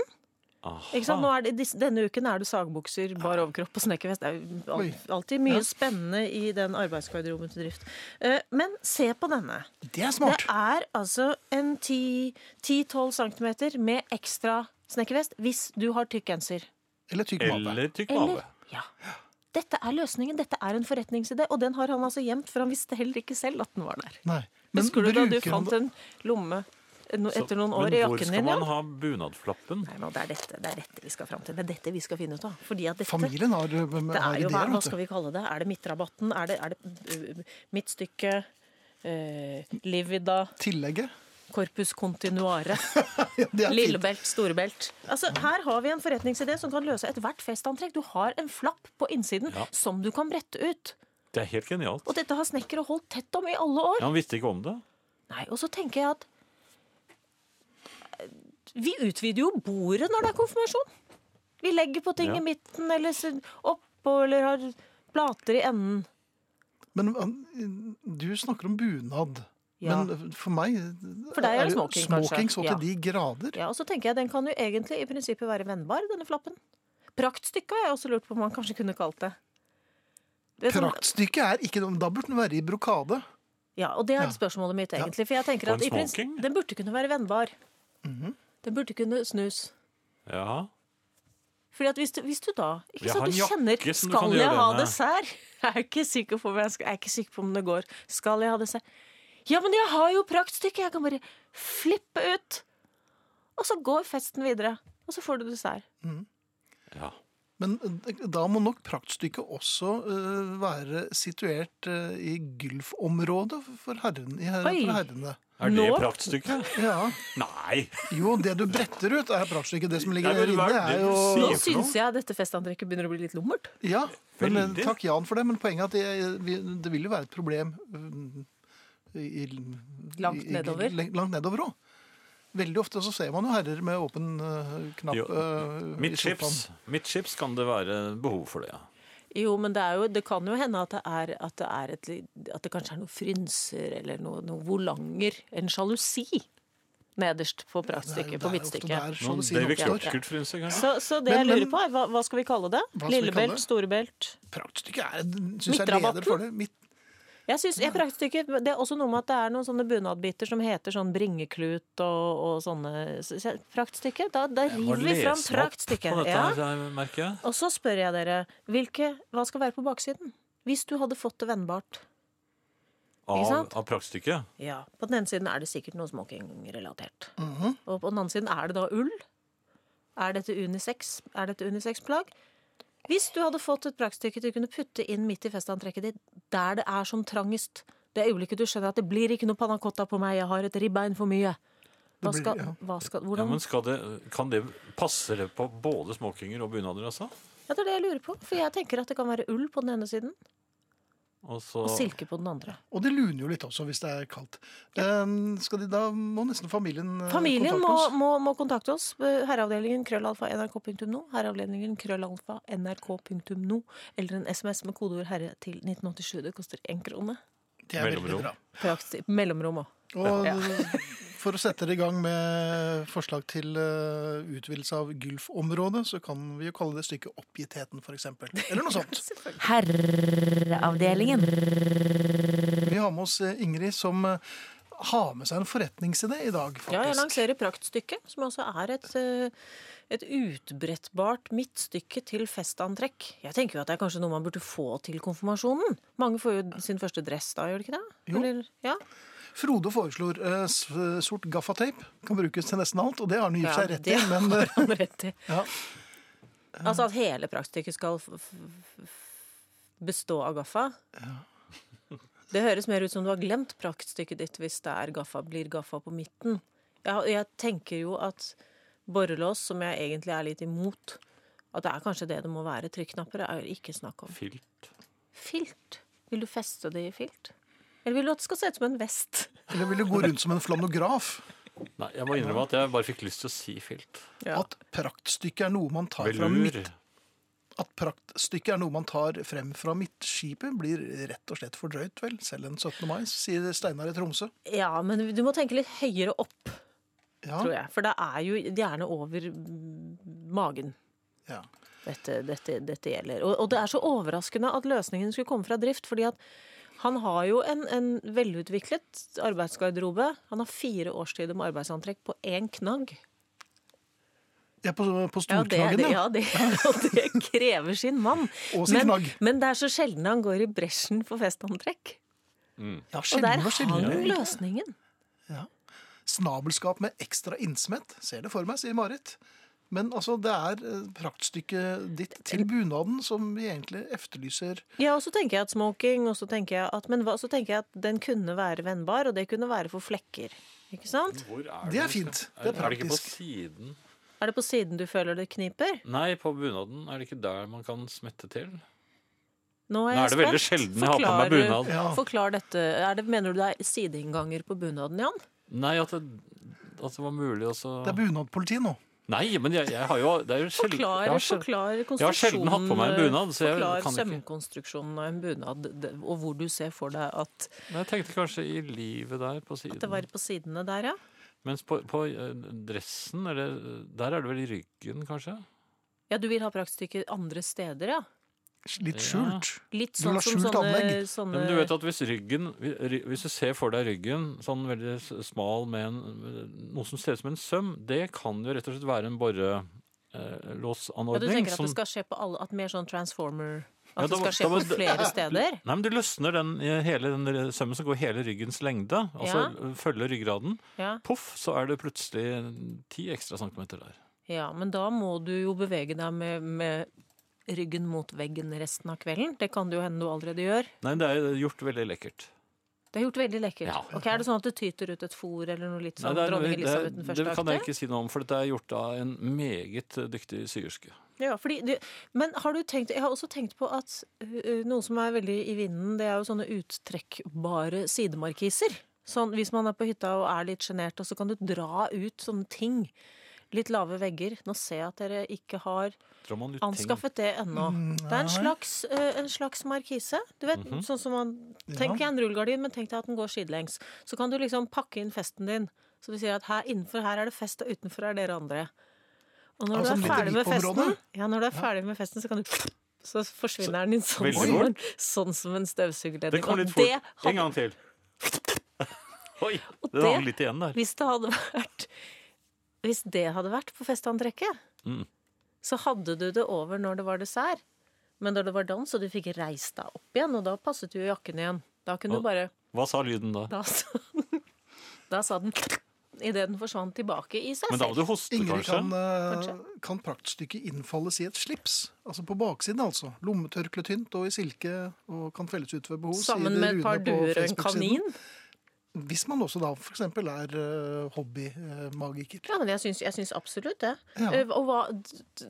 D: ikke sant? Nå
C: Aha.
D: er det, dis- Denne uken er det sagbukser, bar overkropp og snekkervest. Det er jo
B: Oi.
D: al- alltid mye spennende i den arbeidsgarderoben til drift. Eh, Men se på denne.
B: Det er
D: Det
B: smart.
D: er altså en 10 10-12 cm med ekstra snekkervest hvis du har tykk genser.
B: Eller tykk mate.
C: Eller tykk
D: Eller
C: mage.
D: ja. Dette er løsningen. Dette er en forretningsidé, og den har han altså gjemt, for han visste heller ikke selv at den var der.
B: Nei. Men
D: Husker du da du
B: bruker man
D: fant
B: det-
D: en lomme eh, no,
C: Så-
D: etter noen
C: men
D: år i jakken
C: Hvor skal
D: din?
C: man
D: Ja?
C: ha bunadflappen?
D: Nei, nå, det, er dette, det er dette vi skal fram til. Det er dette vi skal finne ut av. Fordi at dette,
B: Familien har, eh, har
D: det er jo, hva,
B: ideer,
D: hva
B: vet
D: skal
B: du.
D: vi kalle det? Er det midtrabatten? Er det, er det øh, midtstykke? eh, livida,
B: Tillegget.
D: corpus continuare,
B: Ja, det er fint.
D: lillebelt, storebelt. Altså, her har vi en forretningsidé som kan løse ethvert festantrekk. Du har en flapp på innsiden
C: Ja.
D: som du kan brette ut.
C: Det er helt genialt.
D: Og dette har snekkere holdt tett om i alle år.
C: Ja, han visste ikke om det.
D: Nei, Og så tenker jeg at eh, vi utvider jo bordet når det er konfirmasjon. Vi legger på ting
C: Ja.
D: i midten eller s- oppå eller har plater i enden.
B: Men han- du snakker om bunad.
D: Ja.
B: Men eh, for meg
D: For deg er det smoking, kanskje?
B: smoking så til
D: Ja.
B: de grader.
D: Ja, og så tenker jeg Den kan jo egentlig i prinsippet være vennbar, denne flappen. Praktstykke har jeg også lurt på om man kanskje kunne kalt det. det er sånn-
B: Praktstykket er ikke noe Da burde den være i brokade.
D: ja, Og det er
B: Ja.
D: spørsmålet mitt, egentlig. For jeg tenker
C: Og
D: at
C: en
D: i prins-
C: smoking?
D: Den burde kunne være vennbar.
B: Mhm.
D: Den burde kunne snus.
C: Ja.
D: Fordi at hvis du, hvis du da ikke
C: Jeg
D: sant,
C: har
D: du
C: en
D: kjenner,
C: jakke som du kan
D: Skal jeg
C: gjøre
D: ha
C: med.»
D: dessert? Jeg er ikke sikker på om jeg, skal, jeg er ikke sikker på om det går. Skal jeg ha dessert? Ja, men jeg har jo praktstykket! Jeg kan bare flippe ut! Og så går festen videre. Og så får du dessert.
C: ja.
B: Men eh, da må nok praktstykket også eh, være situert eh, i gylfområdet for, herren, i, her-
D: Oi.
B: for herrene.
C: Er det
D: Nå-
C: praktstykket?
B: Ja.
C: Nei!
B: Jo, det du bretter ut, er praktstykket. Det som ligger
C: Ja,
B: der
C: men hva
B: inne,
C: er
B: er
C: det du
B: jo
C: sier?
D: Nå
C: for noe?
D: syns jeg dette festantrekket begynner å bli litt lummert.
B: Ja, men eh,
C: Veldig.
B: Takk Jan for det, men poenget er at det, vi- det vil jo være et problem mm, i, i-
D: Langt
B: i-
D: nedover.
B: le- langt nedover òg. Veldig ofte så ser man jo herrer med åpen eh, knapp
C: Jo,
B: eh, i sofaen.
C: Midtskips Midtskips kan det være behov for det, ja.
D: Jo, men det, er jo, det kan jo hende at det, er, at, det er et, li- at det kanskje er noen frynser eller noen noe volanger. En sjalusi nederst på praktstykket, på midtstykket.
C: Noen David Crockert-frynser, kanskje?
D: Så, så det
B: Men-
D: jeg lurer
B: men-
D: på er, hva, hva skal vi kalle det?
B: Hva skal vi kalle
D: Lillebelt,
B: det?
D: storebelt?
B: Praktstykket er, synes jeg er
D: Midtrabatten?
B: leder for det. Midt,
D: Jeg synes, jeg praktstykker, Det er også noe med at det er noen sånne bunadbiter som heter sånn bringeklut og, og sånne så- så- Praktstykke? Da, da
C: Må
D: river vi fram
C: lese meg opp På
D: praktstykket.
C: dette
D: Ja.
C: her, merker jeg.
D: Og så spør jeg dere, hvilke, hva skal være på baksiden? Hvis du hadde fått det vennbart. Ikke
C: Av,
D: sant?
C: av praktstykket.
D: Ja, På den ene siden er det sikkert noe smoking-relatert.
B: Mhm.
D: Og på den andre siden er det da ull. Er dette unisex? Er dette unisex-plagg? Hvis du hadde fått et praktstykke du kunne putte inn midt i festantrekket ditt, der det er som trangest, det øyeblikket du skjønner at det blir ikke noe panna cotta på meg, jeg har et ribbein for mye. Hva
B: blir-
D: skal,
B: ja.
D: hva skal,
C: Ja,
D: hvordan
C: men skal det, kan det passe det på både smokinger og bunader, altså?
D: ja, Det er det jeg lurer på. For jeg tenker at det kan være ull på den ene siden,
C: Og så
D: og silke på den andre.
B: og det luner jo litt også hvis det er kaldt. Eh, skal de, da må nesten familien eh,
D: Familien må,
B: kontakte oss.
D: må, må kontakte oss. Herreavdelingen krøllalfa nrk.no. Herreavdelingen krøllalfa nrk.no. Eller en SMS med kodeord 'herre' til 1987. Det koster én krone.
B: Det er veldig
C: Mellomrom.
B: bra.
D: Praktisk, mellomrom òg.
B: Og for å sette dere i gang med forslag til eh, utvidelse av gylfområdet, så kan vi jo kalle det stykket Oppgittheten, f.eks. Eller noe sånt.
E: Herreavdelingen.
B: Vi har med oss eh, Ingrid, som eh, har med seg en forretningsidé i dag, faktisk.
D: Ja, jeg lanserer praktstykket, som altså er et, eh, et utbrettbart midtstykke til festantrekk. Jeg tenker jo at det er kanskje noe man burde få til konfirmasjonen. Mange får jo sin første dress da, gjør de ikke det?
B: Jo.
D: Eller, ja.
B: Frode foreslår eh, s- sort gaffateip. Kan brukes til nesten alt, og det har han i eh, og for seg
D: Ja,
B: rett i.
D: det
B: Men, eh,
D: har han rett i.
B: ja.
D: Altså at hele praktstykket skal f f f bestå av gaffa. Det høres mer ut som du har glemt praktstykket ditt hvis det er gaffa, blir gaffa på midten. Jeg, jeg tenker jo at borrelås, som jeg egentlig er litt imot, at det er kanskje det det må være. Trykknapper er det ikke snakk om.
C: Filt.
D: Filt? Vil du feste det i filt? Eller vil du at det skal se ut som en vest?
B: Eller vil du gå rundt som en flanograf?
C: Nei, jeg må innrømme at jeg bare fikk lyst til å si filt.
B: At praktstykket er noe man tar fra midt,
C: Velur.
B: at praktstykket er noe man tar frem fra midtskipet, blir rett og slett for drøyt, vel? Selv en 17. mai, sier Steinar i Tromsø.
D: Ja, men du må tenke litt høyere opp,
B: Ja,
D: tror jeg. For det er jo gjerne over mm, magen.
B: ja.
D: dette, dette, dette gjelder. Og, og det er så overraskende at løsningen skulle komme fra drift, fordi at han har jo en, en velutviklet arbeidsgarderobe. Han har fire årstider med arbeidsantrekk på én knagg.
B: ja på, på
D: Ja, det, det,
B: storknaggen, ja.
D: ja, det, og det krever sin mann.
B: Og sin
D: Men,
B: knagg.
D: men det er så sjelden han går i bresjen for festantrekk.
B: ja
D: Og
B: sjelden
D: der
B: og sjelden.
D: hang løsningen.
B: Snabelskap med ekstra innsmett, ser det for meg, sier Marit. Men altså, det er eh, praktstykket ditt til bunaden som vi egentlig efterlyser.
D: Ja, og så tenker jeg at smoking, og så tenker jeg at, men hva, så tenker jeg at den kunne være vennbar, og det kunne være for flekker. Ikke sant?
C: Hvor er
B: Det er fint. Det er
C: Er det ikke på
B: praktisk.
C: siden?
D: Er det på siden du føler det kniper?
C: Nei, på bunaden. Er det ikke der man kan smette til?
D: Nå
C: Nå
D: jeg
C: er det veldig
D: spent.
C: sjelden jeg har på meg
D: Forklar-
C: bunad.
B: Ja.
D: Forklar dette. Er det, mener du det er sideinnganger på bunaden, Jan?
C: Nei, at det, at det var mulig også
B: Det er bunadpoliti nå.
C: Nei, men jeg, jeg har jo det er jo sjel-
D: Forklar,
C: jeg har sjel-
D: forklar konstruksjonen.
C: jeg har sjelden hatt på meg en bunad, så jeg
D: Forklar
C: kan ikke-
D: sømkonstruksjonen av en bunad, det- og hvor du ser for deg at
C: Nei, Jeg tenkte kanskje i livet der på siden.
D: det var på sidene der, ja.
C: Mens på, på eh, dressen, eller Der er det vel i ryggen, kanskje?
D: Ja, du vil ha praktstykket andre steder, ja.
B: Litt skjult.
D: Litt
B: Du vil
D: sånn
B: ha
D: som
B: skjult
D: sånne,
B: anlegg.
C: Ja, men du vet at
D: sånne
C: hvis ryggen ry- Hvis du ser for deg ryggen sånn veldig s- smal med en, noe som ser ut som en søm, det kan jo rett og slett være en
D: ja, Du
C: borrelåsanordning.
D: tenker at
C: som-
D: det skal skje på alle, at mer sånn transformer At
C: Ja, da
D: det
C: må-
D: skal skje
C: da må
D: på
C: det-
D: flere steder?
C: Nei, men Du løsner den, i hele den r- sømmen som går hele ryggens lengde, og så følger ryggraden.
D: Ja.
C: Poff, så er det plutselig ti ekstra centimeter der.
D: Ja, men da må du jo bevege deg med, med ryggen mot veggen resten av kvelden. Det kan det jo hende du allerede gjør.
C: Nei, det er jo gjort veldig lekkert.
D: Det er gjort veldig lekkert.
C: Ja.
D: Ok, Er det sånn at det tyter ut et fôr eller noe litt sånn
C: Nei, det,
D: dronning
C: er,
D: Elisabeth
C: det,
D: den
C: er,
D: første
C: det kan jeg
D: akte?
C: ikke si noe om, for dette er gjort av en meget dyktig syerske.
D: Ja, fordi det, men har du tenkt Jeg har også tenkt på at øh, noe som er veldig i vinden, det er jo sånne uttrekkbare sidemarkiser. Sånn hvis man er på hytta og er litt sjenert, og så kan du dra ut sånne ting. Litt lave vegger. Nå ser jeg at dere ikke har
C: Drar man ut ting-
D: anskaffet det ennå. Det er en slags, ø, en slags markise. Du vet,
C: Mhm.
D: sånn som man, Tenk deg en rullegardin, men tenk deg at den går sidelengs. Så kan du liksom pakke inn festen din. Så du sier at her innenfor her er det fest, og utenfor er dere andre. Og når
B: Altså,
D: du er
B: litt
D: ferdig med festen,
B: VIP-område?
D: ja, når du er ferdig med festen, så kan du så forsvinner den inn sånn,
C: Veldig
D: som en,
C: fort.
D: sånn som en støvsugerledning.
C: Det kom
D: Og
C: litt fort.
D: det
C: En
D: hadde,
C: gang til. Oi,
D: Og
C: det
D: det-
C: hang litt igjen der.
D: hvis det hadde vært Hvis det hadde vært på festantrekket,
C: Mm.
D: så hadde du det over når det var dessert. Men når det var dans, og du fikk reist deg opp igjen, og da passet jo jakken igjen. Da
C: Og-
D: kunne du bare
C: Hva sa lyden da?
D: Da sa den, da sa den idet den forsvant tilbake i seg
C: Men da må
D: selv.
C: du hoste,
B: Ingrid
C: kanskje?
B: kan, eh,
D: Kanskje.
B: kan praktstykket innfalles i et slips. Altså på baksiden, altså. Lommetørkle tynt og i silke og kan felles ut ved behov. sier
D: Sammen med et
B: Rune
D: par
B: på
D: duer og en
B: Facebook-siden.
D: kanin.
B: Hvis man også da f.eks. er eh, hobbymagiker.
D: Ja, men jeg syns, jeg syns absolutt det.
B: Ja.
D: Eh, Og hva, d- d-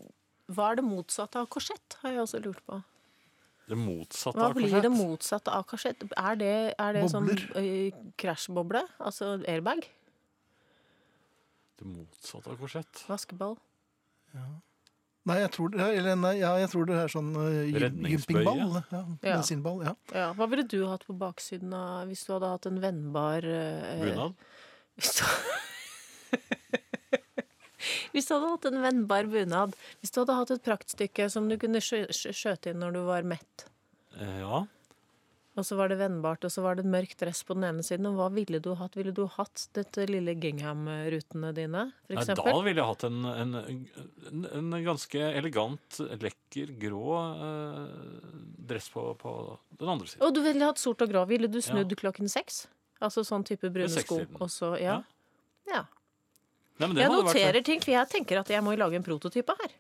D: hva er det motsatte av korsett, har jeg også lurt på.
C: Det motsatte
D: Hva
C: av
D: blir
C: korsett.
D: det motsatte av korsett? Er det, er det sånn
B: Bobler.
D: eh, krasjboble? Altså airbag?
C: Det motsatte av korsett.
D: Vaskeball?
B: Nei, jeg tror, det- eller, nei, ja, jeg tror det er sånn eh, gym-
C: Redningsbøye.
B: gympingball. Ja,
D: Ja.
B: Medisinball. Ja.
D: Ja, Hva ville du hatt på baksiden av hvis du hadde hatt en vennbar eh,
C: Bunad?
D: Hvis du, hvis du hadde hatt en vennbar bunad, hvis du hadde hatt et praktstykke som du kunne skjø- skjø- skjøte inn når du var mett,
C: Eh, Ja.
D: og så var det vennbart, og så var det en mørk dress på den ene siden, og hva ville du hatt? Ville du hatt dette lille gingham-rutene dine, for
C: Nei, da
D: eksempel?
C: ville jeg hatt en, en, en, en ganske elegant, lekker, grå eh, dress på, på den andre siden.
D: Og du ville hatt sort og grå. Ville du snudd klokken seks? Altså sånn type brune sko.
C: sekstiden.
D: Og så, ja. ja.
C: Nei, men det
D: Jeg
C: hadde vært-
D: noterer ting, for jeg tenker at jeg må jo lage en prototype her.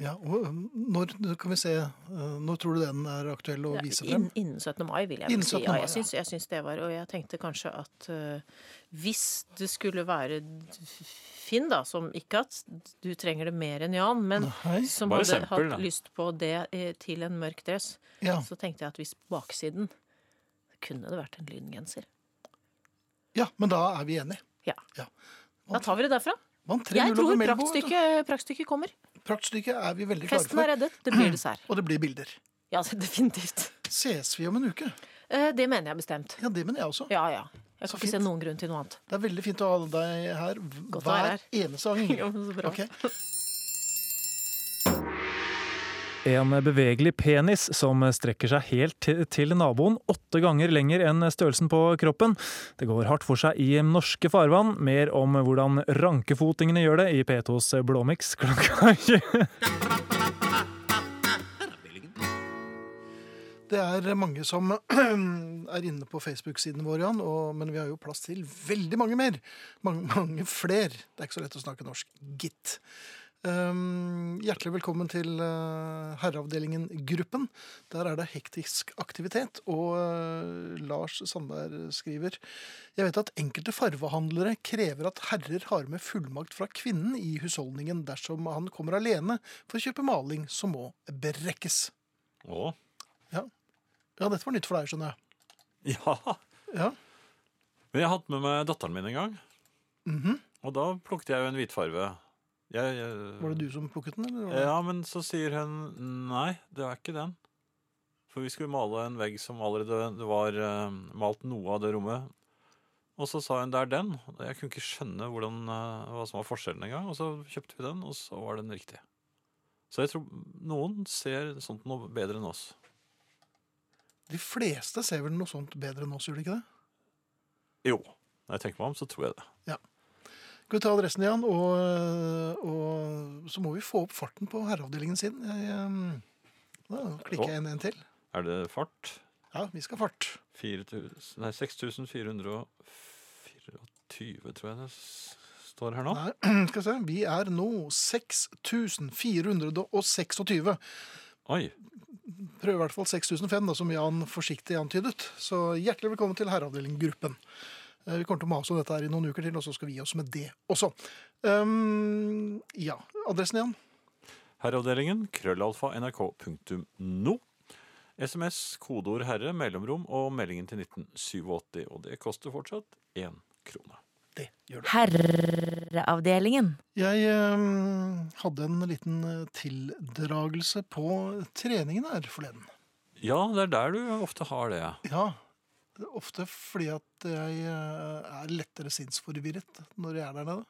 B: Ja, og ø, når kan vi se ø, Når tror du den er aktuell å vise frem?
D: Inn- innen 17. mai, vil jeg
B: Innen
D: vel si.
B: 17.
D: Ja,
B: mai,
D: jeg
B: ja.
D: syns, jeg syns det var Og jeg tenkte kanskje at eh, hvis det skulle være Finn, da, som ikke at du trenger det mer enn Jan, men
B: Nei.
D: som
C: Bare
D: hadde
C: eksempel,
D: hatt
C: da.
D: lyst på det eh, til en mørk dress,
B: Ja.
D: så tenkte jeg at hvis baksiden Kunne det vært en lyngenser?
B: ja, men da er vi enige.
D: Ja.
B: Ja.
D: Da tar vi det derfra.
B: Man
D: Jeg
B: over
D: tror
B: Melbo, vet du.
D: praktstykket praktstykket kommer.
B: Praktstykket er vi veldig klare
D: Festen
B: for.
D: er reddet. Det blir dessert.
B: Og det blir bilder.
D: Ja, definitivt.
B: Ses vi om en uke?
D: Eh, Det mener jeg bestemt.
B: Ja, det mener jeg også.
D: Ja, ja. Jeg
B: Så
D: kan ikke se
B: fint.
D: noen grunn til noe annet.
B: Det er veldig fint å ha deg her v-
D: Godt å være
B: hver
D: her.
B: eneste gang.
D: Ja, men så bra.
B: Ok.
E: En bevegelig penis som strekker seg helt til- til naboen, åtte ganger lenger enn størrelsen på kroppen. Det går hardt for seg i norske farvann. Mer om hvordan rankefotingene gjør det i P2s Blåmix klokka 20.
B: Det er mange som er inne på Facebook-siden vår, Jan, og, men vi har jo plass til veldig mange mer. Mange, mange fler. Det er ikke så lett å snakke norsk, gitt. Um, hjertelig velkommen til eh, herreavdelingen Gruppen. Der er det hektisk aktivitet, og eh, Lars Sandberg skriver Jeg vet at enkelte farvehandlere krever at herrer har med fullmakt fra kvinnen i husholdningen dersom han kommer alene for å kjøpe maling som må brekkes.
C: Å,
B: Ja, dette var nytt for deg, skjønner jeg.
C: ja.
B: Ja.
C: Men jeg har hatt med meg datteren min en gang,
B: Mhm.
C: og da plukket jeg jo en hvitfarve. Jeg, jeg,
B: Var det du som plukket den? Eller? var det-
C: Ja, men så sier hun nei, det er ikke den. For vi skulle male en vegg som allerede det var eh, malt noe av det rommet. Og så sa hun det er den. Og Jeg kunne ikke skjønne hvordan, eh, hva som var forskjellen engang. Og så kjøpte vi den, og så var den riktig. Så jeg tror noen ser sånt noe bedre enn oss.
B: De fleste ser vel noe sånt bedre enn oss, gjør de ikke det?
C: Jo. Når jeg tenker meg om, så tror jeg det.
B: Skal vi ta adressen igjen, og, øh, og så må vi få opp farten på herreavdelingen sin. Jeg, ehm, da klikker jeg inn en til.
C: Er det fart?
B: Ja, vi skal fart.
C: 4000 Nei, 6424, tror jeg det s- står her nå.
B: Nei, Mm, skal vi se. Vi er nå 6426.
C: Oi.
B: Prøv i hvert fall 6005, da, som Jan forsiktig antydet. Så hjertelig velkommen til Herreavdelingen-gruppen. Eh, Vi kommer til å mase om dette her i noen uker til, og så skal vi gi oss med det også. Ehm, ja, adressen igjen.
C: Herreavdelingen, krøllalfa, nrk.no. SMS, kodeord 'herre', mellomrom og meldingen til 1987. Og det koster fortsatt én krone.
B: Det gjør du.
F: Herreavdelingen.
B: Jeg ehm, hadde en liten eh, tildragelse på treningen her forleden.
C: Ja, det er der du ofte har det.
B: Ja, ofte fordi at jeg eh, er lettere sinnsforvirret når jeg er der nede.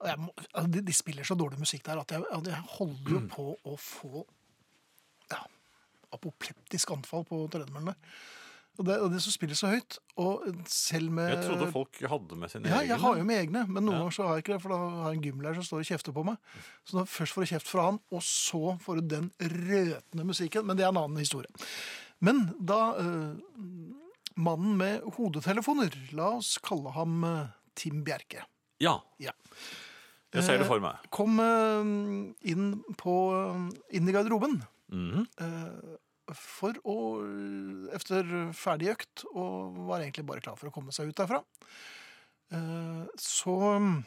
B: Og Jeg må, altså, de, de spiller så dårlig musikk der at jeg, at jeg holder
C: Mm.
B: jo på å få ja, apopleptisk anfall på tredemøllen der. Og det, og det som spiller så høyt, og selv med
C: Jeg trodde folk hadde med sine
B: Eh, Ja,
C: egne.
B: jeg har jo med egne, men noen
C: Ja.
B: ganger så har jeg ikke det, for da har jeg en gymlærer som står og kjefter på meg. Så da først får du kjeft fra han, og så får du den røtende musikken, men det er en annen historie. Men da eh, mannen med hodetelefoner, la oss kalle ham eh, Tim Bjerke,
C: Ja.
B: Ja.
C: Jeg ser det
B: Eh,
C: for meg.
B: kom eh, inn, på, eh, inn i garderoben
C: Mhm.
B: eh, for å Efter ferdig økt, og var egentlig bare klar for å komme seg ut derfra. Eh, Så mm,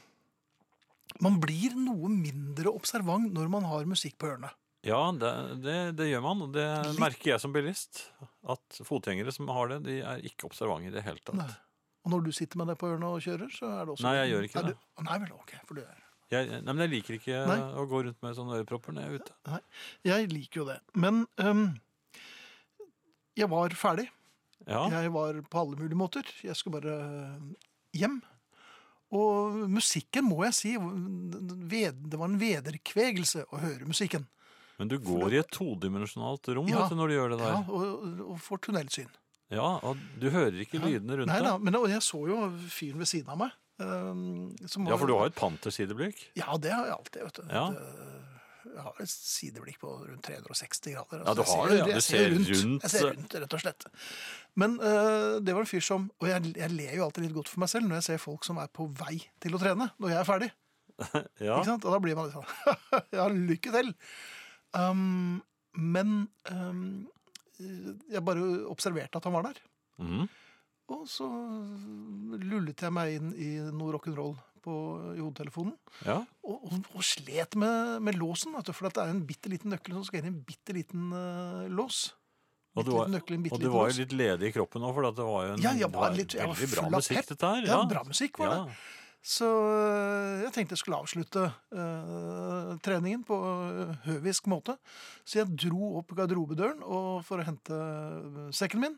B: man blir noe mindre observant når man har musikk på ørene.
C: Ja, det, det, det gjør man. Og det
B: Litt-
C: merker jeg som bilist. At fotgjengere som har det, de er ikke observante i det hele tatt.
B: Nei. Og når du sitter med det på ørene og kjører, så er det også
C: Nei, jeg gjør ikke
B: Er
C: det.
B: du- Å, Nei vel, ok, for du er
C: Jeg, nei, men jeg liker ikke
B: Nei.
C: å gå rundt med sånne ørepropper når jeg er ute.
B: Jeg liker jo det. Men ehm, jeg var ferdig.
C: Ja,
B: Jeg var på alle mulige måter. Jeg skulle bare eh, hjem. Og musikken, må jeg si, ved- det var en vederkvegelse å høre musikken.
C: Men du går i et todimensjonalt rom
B: Ja.
C: vet du, når du gjør det der.
B: Ja, og, og får tunnelsyn.
C: Ja, og du hører ikke lydene rundt
B: Nei da,
C: deg.
B: men og jeg så jo fyren ved siden av meg. eh, som
C: Ja,
B: var-
C: for du har et pantersideblikk.
B: Ja, det har jeg alltid, vet du.
C: Ja.
B: Det- Jeg har et sideblikk på rundt 360 grader.
C: Ja, du
B: Jeg ser-
C: har det, ja.
B: jeg
C: Du ser rundt.
B: Jeg ser rundt, rett og slett. Men eh, det var en fyr som Og jeg, jeg ler jo alltid litt godt for meg selv når jeg ser folk som er på vei til å trene når jeg er ferdig.
C: Ja.
B: Ikke sant? Og da blir man litt sånn Ja, lykke til! Um, men um, jeg bare observerte at han var der.
C: Mhm.
B: Og så lullet jeg meg inn i noe rock'n'roll på- i hodetelefonen.
C: ja.
B: Og, og, og slet med, med låsen, vet du, for at det er en bitte liten nøkkel som skal inn i en bitte liten eh, lås.
C: Og
B: Bitte
C: du var,
B: liten nøkkel i en
C: og
B: bitte
C: du
B: liten
C: var
B: lås.
C: jo litt ledig i kroppen òg, for at det var jo en,
B: Ja, jeg
C: det
B: var litt- jeg var
C: veldig
B: full
C: bra
B: av
C: musikk,
B: pep.
C: dette her.
B: Ja, bra musikk var det.
C: Ja.
B: Så øh, jeg tenkte jeg skulle avslutte øh, treningen på øh, høvisk måte. Så jeg dro opp garderobedøren og, for å hente øh, sekken min.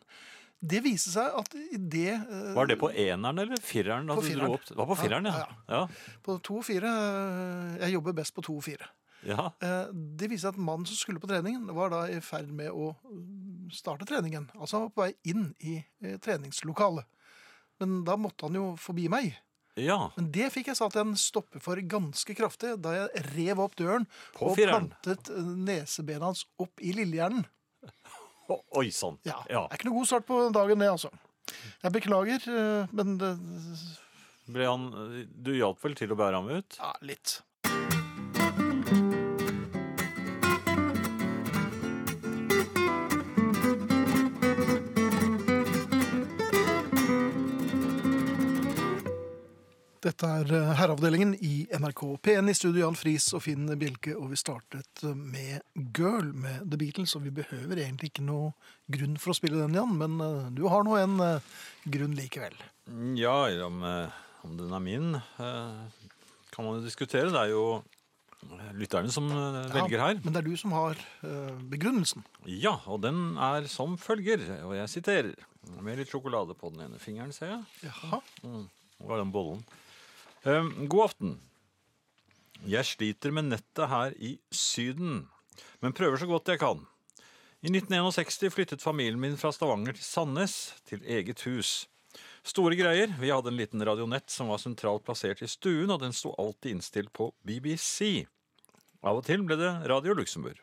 B: Det viste seg at i det øh,
C: Var det på eneren eller fireren? da
B: På
C: du dro
B: fireren.
C: opp? Det var på
B: Ja,
C: fireren, ja. ja.
B: på 2-4 øh, Jeg jobber best på 2-4.
C: ja.
B: Eh, Det viste seg at mannen som skulle på treningen, var da i ferd med å øh, starte treningen. Altså han var på vei inn i eh, treningslokalet. Men da måtte han jo forbi meg.
C: ja.
B: Men det fikk jeg satt en stopper for ganske kraftig da jeg rev opp døren
C: På
B: og
C: fireren.
B: plantet eh, nesebena hans opp i lillehjernen.
C: Å, Oi sånn. sann.
B: Ja,
C: Ja.
B: Det er ikke noe god start på dagen, det, altså. Jeg beklager, eh, men det
C: Ble han, du hjalp vel til å bære ham ut?
B: ja, litt. Dette er eh, Herreavdelingen i NRK P1 i studio Jan Friis og Finn Bjelke. Og vi startet eh, med Girl med The Beatles, og vi behøver egentlig ikke noe grunn for å spille den, Jan, men eh, du har nå en eh, grunn likevel.
C: Ja, eller om, eh, om den er min, eh, kan man jo diskutere. Det er jo eh, lytterne som eh, velger her.
B: Men det er du som har eh, begrunnelsen.
C: Ja, og den er som følger, og jeg siterer. Med litt sjokolade på den ene fingeren, ser jeg.
B: Jaha.
C: Hvor er den bollen? Ehm, god aften. Jeg sliter med nettet her i Syden, men prøver så godt jeg kan. I 1961 flyttet familien min fra Stavanger til Sandnes, til eget hus. Store greier. Vi hadde en liten radionett som var sentralt plassert i stuen, og den sto alltid innstilt på BBC. Av og til ble det Radio Luxembourg.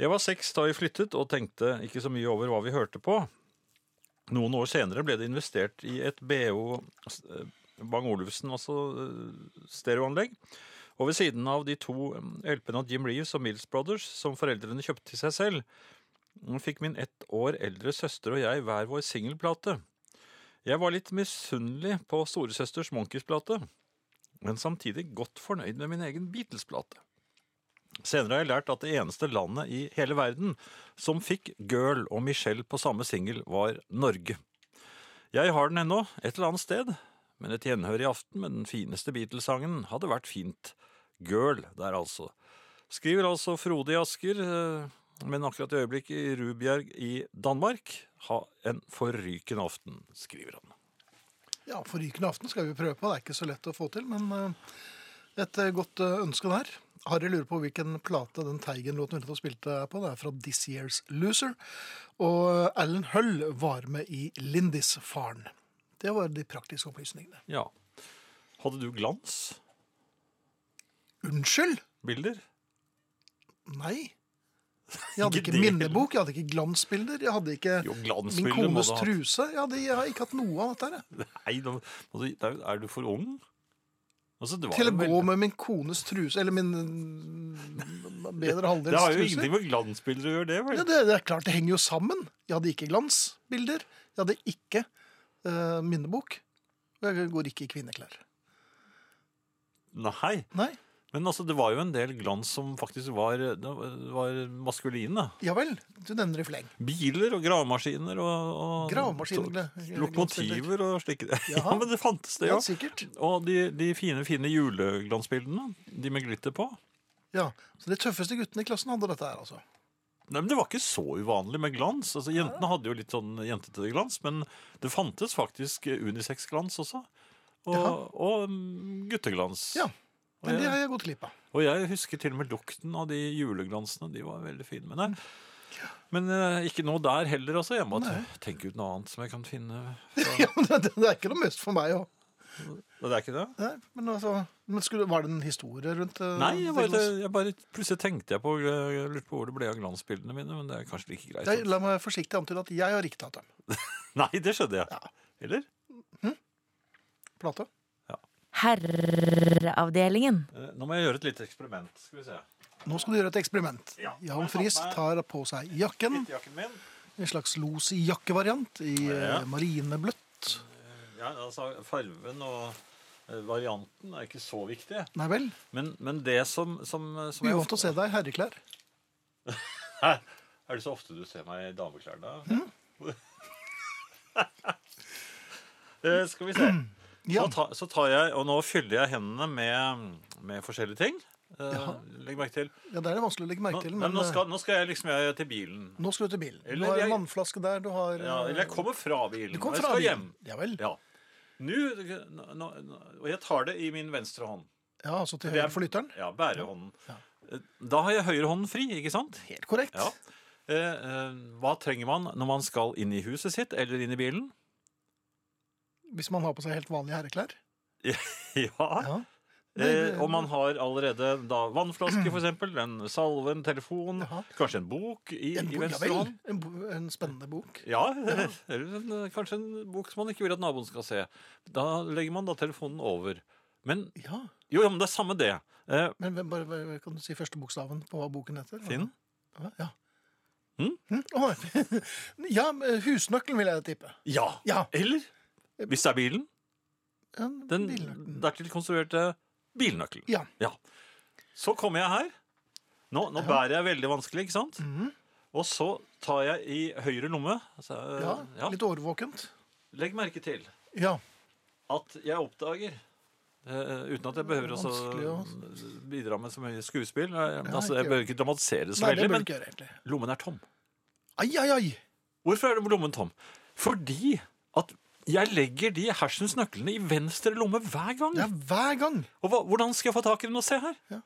C: Jeg var seks da vi flyttet, og tenkte ikke så mye over hva vi hørte på. Noen år senere ble det investert i et BO eh, Bang Olufsen altså, eh, stereoanlegg. Og ved siden av de to eh, LP-ene av Jim Reeves og Mills Brothers, som foreldrene kjøpte til seg selv, mm, fikk min ett år eldre søster og jeg hver vår singelplate. Jeg var litt misunnelig på storesøsters Monkeys-plate, men samtidig godt fornøyd med min egen Beatles-plate. Senere har jeg lært at det eneste landet i hele verden som fikk Girl og Michelle på samme singel, var Norge. Jeg har den ennå, et eller annet sted, men et gjenhør i aften med den fineste Beatles-sangen hadde vært fint. Girl der, altså. Skriver altså Frode i Asker, eh, men akkurat i øyeblikket i Rubjerg i Danmark. Ha en forrykende aften, skriver han.
B: Ja, forrykende aften skal vi prøve på. Det er ikke så lett å få til, men eh, et eh, godt eh, ønske der. Harry lurer på hvilken plate den Teigen-låten vi nettopp spilte er på. Det er fra This Year's Loser. Og eh, Alan Hull var med i Lindis Faren. Det var de praktiske opplysningene.
C: Ja. Hadde du glansbilder?
B: Unnskyld? Nei. Jeg hadde
C: Ikke
B: ikke
C: det
B: minnebok, jeg hadde ikke glansbilder, jeg hadde ikke
C: Jo,
B: min
C: glansbilder må
B: kones
C: du ha.
B: truse. Jeg, hadde, jeg har ikke hatt noe av dette her. jeg.
C: Nei, da, må du- da er du for ung? Altså, det var
B: Til å
C: jo
B: gå
C: veldig-
B: med min kones truse, eller min eh, bedre halvdels truse.
C: Det har jo ingenting med glansbilder å gjøre, det vel?
B: Ja, det, det er klart det henger jo sammen. Jeg hadde ikke glansbilder. Jeg hadde ikke eh, minnebok. Og jeg går ikke i kvinneklær.
C: Nei.
B: Nei,
C: Men altså, det var jo en del glans som faktisk var, det var maskulin. Da.
B: ja vel. Du nevner i fleng.
C: Biler og gravemaskiner og, og
B: Gravemaskiner.
C: to- Lokomotiver og slike Ja,
B: Jaha.
C: men det fantes det
B: Ja,
C: jo.
B: sikkert.
C: Og de, de fine fine juleglansbildene. De med glitter på.
B: Ja. Så de tøffeste guttene i klassen hadde dette her, altså.
C: Nei, men Det var ikke så uvanlig med glans. Altså, Jentene hadde jo litt sånn jentete glans, men det fantes faktisk unisex-glans også. Og,
B: Jaha.
C: og mm, gutteglans.
B: Ja.
C: Og
B: Men
C: jeg-
B: det har jeg gått glipp av.
C: Og jeg husker til og med lukten av de juleglansene. De var veldig fine. Men, nei. men eh, ikke noe der heller, altså. Jeg må
B: Nei.
C: tenke ut noe annet som jeg kan finne.
B: Ja, men det, det er ikke noe mest for meg å
C: Det er ikke det?
B: Nei, Men altså men skulle, Var det en historie rundt eh,
C: Nei, jeg
B: det
C: bare,
B: glans-
C: jeg bare plutselig tenkte jeg på eh, jeg lurte på hvor det ble av glansbildene mine, men det er kanskje like greit.
B: jeg, La meg forsiktig antyde at jeg har ikke tatt dem.
C: Nei, det skjønner jeg. Eller?
B: Plate.
F: Herreavdelingen.
C: Eh, Nå må jeg gjøre et lite eksperiment. Skal vi se.
B: Nå skal du gjøre et eksperiment.
C: Ja.
B: Jan Friis tar på seg jakken.
C: Kittejakken min.
B: En slags losjakkevariant i
C: Ja.
B: eh, marinebløtt.
C: Ja, altså, farven og eh, varianten er ikke så viktig.
B: Nei vel?
C: Men, men det som, som, som
B: Uvant å se deg i herreklær.
C: Hæ? Er det så ofte du ser meg i dameklær, da?
B: Hm?
C: Eh, Skal vi se.
B: Ja.
C: Så, ta, så tar jeg, og nå fyller jeg hendene med, med forskjellige ting. Eh,
B: Jaha.
C: legg merke til.
B: ja, det er det vanskelig å legge
C: Nå,
B: merke til.
C: nei,
B: Men
C: nå, skal, nå skal jeg liksom jeg til bilen.
B: eh, nå skal du til bilen. Du
C: Eller
B: har en
C: jeg-
B: vannflaske der, du har
C: Ja,
B: eh,
C: eller jeg kommer fra bilen.
B: Du kom
C: og jeg
B: fra
C: skal
B: bilen. Ja vel.
C: hjem. Ja. Nå, nå, nå, og jeg tar det i min venstre hånd.
B: Ja, altså til
C: Det er-
B: høyre for lytteren.
C: Ja, bærehånden.
B: Ja.
C: Eh, Da har jeg høyrehånden fri, ikke sant?
B: Helt korrekt.
C: Ja. Eh, eh, hva trenger man når man skal inn i huset sitt eller inn i bilen?
B: Hvis man har på seg helt vanlige herreklær.
C: Ja.
B: Ja.
C: Eh, og man har allerede da vannflaske, for eksempel, en salve, en telefon,
B: Jaha.
C: kanskje en bok i,
B: En, bok,
C: i
B: ja
C: venstre
B: vel.
C: hånd.
B: En, bo- en spennende bok.
C: Ja, eller en, eh, kanskje en bok som man ikke vil at naboen skal se. Da legger man da telefonen over. Men
B: Ja,
C: jo, ja, men det er samme det. Eh,
B: Men hvem, bare, bare, kan du si første bokstaven på hva boken heter?
C: Finn?
B: Hva? Ja.
C: Hm?
B: Hm? Å, ja, men eh, husnøkkelen vil jeg tippe.
C: Ja.
B: Ja.
C: Eller hvis det er bilen,
B: en
C: den
B: bilnøkkelen.
C: dertil konstruerte bilnøkkelen.
B: Ja.
C: Så kommer jeg her. Nå, nå bærer jeg veldig vanskelig, ikke sant?
B: Mhm.
C: Og så tar jeg i høyre lomme. Altså, eh,
B: ja,
C: ja.
B: litt årvåkent.
C: Legg merke til
B: Ja.
C: at jeg oppdager eh, uten at jeg behøver også
B: Vanskelig
C: bidra med så mye skuespill. eh,
B: ikke
C: altså, jeg behøver ikke dramatisere det så
B: Nei, det burde
C: veldig, men
B: du ikke gjøre, egentlig.
C: lommen er tom.
B: Ai, ai, ai!
C: Hvorfor er lommen tom? Fordi at jeg legger de hersens nøklene i venstre lomme hver gang.
B: Det er hver gang.
C: Og hva, hvordan skal jeg få tak i den og se her?
B: Ja.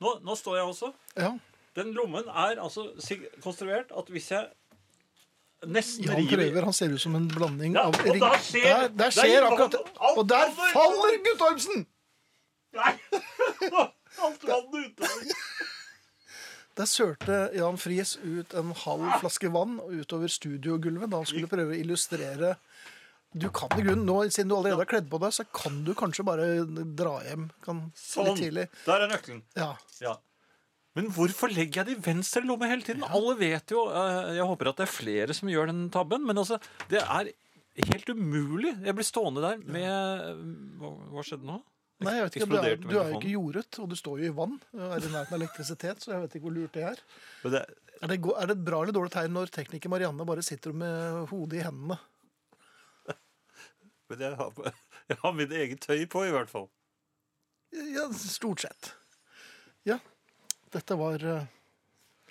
C: Nå, nå står jeg også.
B: Ja.
C: Den lommen er altså sig- konstruert at hvis jeg nesten
B: Jan
C: river
B: prøver. Han ser ut som en blanding
C: Ja,
B: av
C: og da skjer-
B: der,
C: der
B: der skjer
C: gir
B: akkurat
C: vann- alt
B: Og der
C: vannet ut.
B: faller Guttormsen!
C: Nei! Alt vannet utover.
B: Der sørte Jan Friis ut en halv flaske vann utover studiogulvet da han skulle prøve å illustrere Du kan i grunnen, nå siden du allerede har kledd på deg, så kan du kanskje bare dra hjem kan,
C: Sånn.
B: litt tidlig.
C: Der er nøkkelen.
B: Ja.
C: Ja. Men hvorfor legger jeg det i venstre lomme hele tiden? Alle vet jo eh, Jeg håper at det er flere som gjør den tabben, men altså, det er helt umulig. Jeg blir stående der med Hva, hva skjedde nå?
B: Nei, jeg vet ikke, du er,
C: Eksploderte
B: du er jo
C: mikrofonen.
B: ikke jordet, og du står jo i vann. og Er i nærheten av elektrisitet, så jeg vet ikke hvor lurt det er.
C: Men det-
B: Er det, go- er det et bra eller dårlig tegn når tekniker Marianne bare sitter med hodet i hendene?
C: men jeg har, jeg har mitt eget tøy på, i hvert fall.
B: Ja, stort sett. Ja. Dette var eh,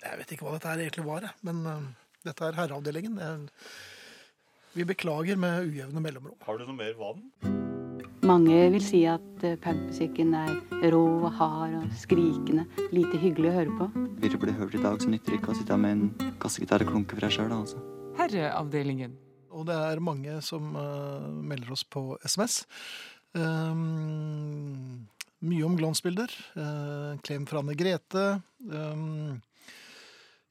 B: Jeg vet ikke hva dette her egentlig var, jeg, men eh, dette er herreavdelingen. Jeg- Vi beklager med ujevne mellomrom.
C: Har du noe mer vann?
G: Mange vil si at eh, punkmusikken er rå og hard og skrikende. Lite hyggelig å høre på.
H: Hvis det blir hørt i dag, så nytter det ikke å sitte med en kassegitar og klunke for deg sjøl, altså.
I: Herreavdelingen.
B: Og det er mange som eh, melder oss på SMS. Ehm, mye om glansbilder. Eh, klem fra Anne Grete. Ehm,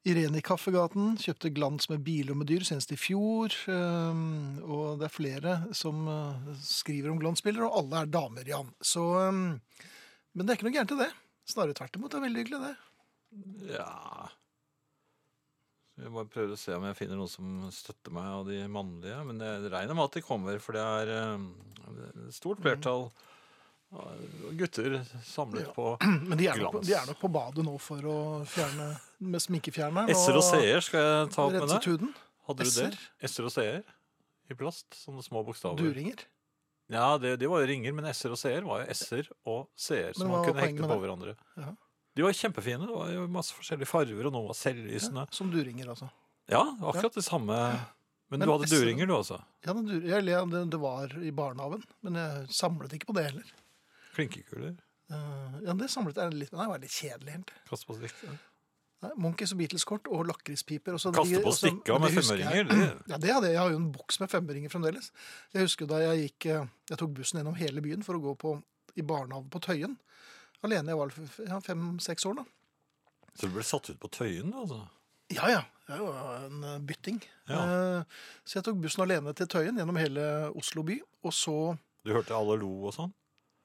B: Irene i Kaffegaten kjøpte glans med biler og med dyr senest i fjor. Ehm, og det er flere som eh, skriver om glansbilder, og alle er damer, Jan. Så, ehm, men det er ikke noe gærent i det. Snarere tvert imot. Det er veldig hyggelig, det.
C: Ja Jeg bare prøver å se om jeg finner noen som støtter meg av de mannlige. Men jeg regner med at de kommer, for det er eh, et stort flertall av gutter samlet
B: Ja.
C: på
B: Mm, Men de er, nok, på-
C: Glans.
B: de er nok på badet nå for å fjerne med sminkefjerneren.
C: S-er og C-er skal jeg ta opp med
B: renset
C: deg.
B: huden.
C: Hadde du det?
B: S-er?
C: S-er og C-er i plast? Sånne små bokstaver.
B: Duringer.
C: Ja, det, de var jo ringer, men S-er og C-er var jo S-er og C-er som
B: Men hva
C: man
B: var
C: kunne
B: poenget
C: hekte
B: med
C: på
B: det?
C: hverandre.
B: Ja.
C: De var kjempefine. Det var jo masse forskjellige farger, og noen var selvlysende.
B: Som duringer, altså.
C: Ja, akkurat det samme. Men,
B: Men
C: du hadde
B: S-er
C: duringer, du altså. også.
B: Ja, det, dur eller, ja, det, det var i barnehagen, men jeg samlet ikke på det heller.
C: Klinkekuler.
B: Eh, ja, det samlet jeg litt Nei, det var litt kjedelig. egentlig.
C: Kaste på stikker.
B: Nei, Monkeys og Beatles-kort og lakrispiper. og så-
C: Kaste
B: de-
C: på
B: og så-
C: stikka
B: men
C: med
B: det husker jeg-
C: femmeringer. det-
B: Ja, det hadde jeg. Jeg har jo en boks med femmeringer fremdeles. Jeg husker da jeg gikk eh, Jeg tok bussen gjennom hele byen for å gå på, i barnehagen på Tøyen. Alene. Jeg var vel f- ja, fem-seks år da.
C: Så du ble satt ut på Tøyen, altså?
B: Ja, ja. Det er jo en eh, bytting. Eh, så jeg tok bussen alene til Tøyen gjennom hele Oslo by. Og så
C: Du hørte alle lo og sånn?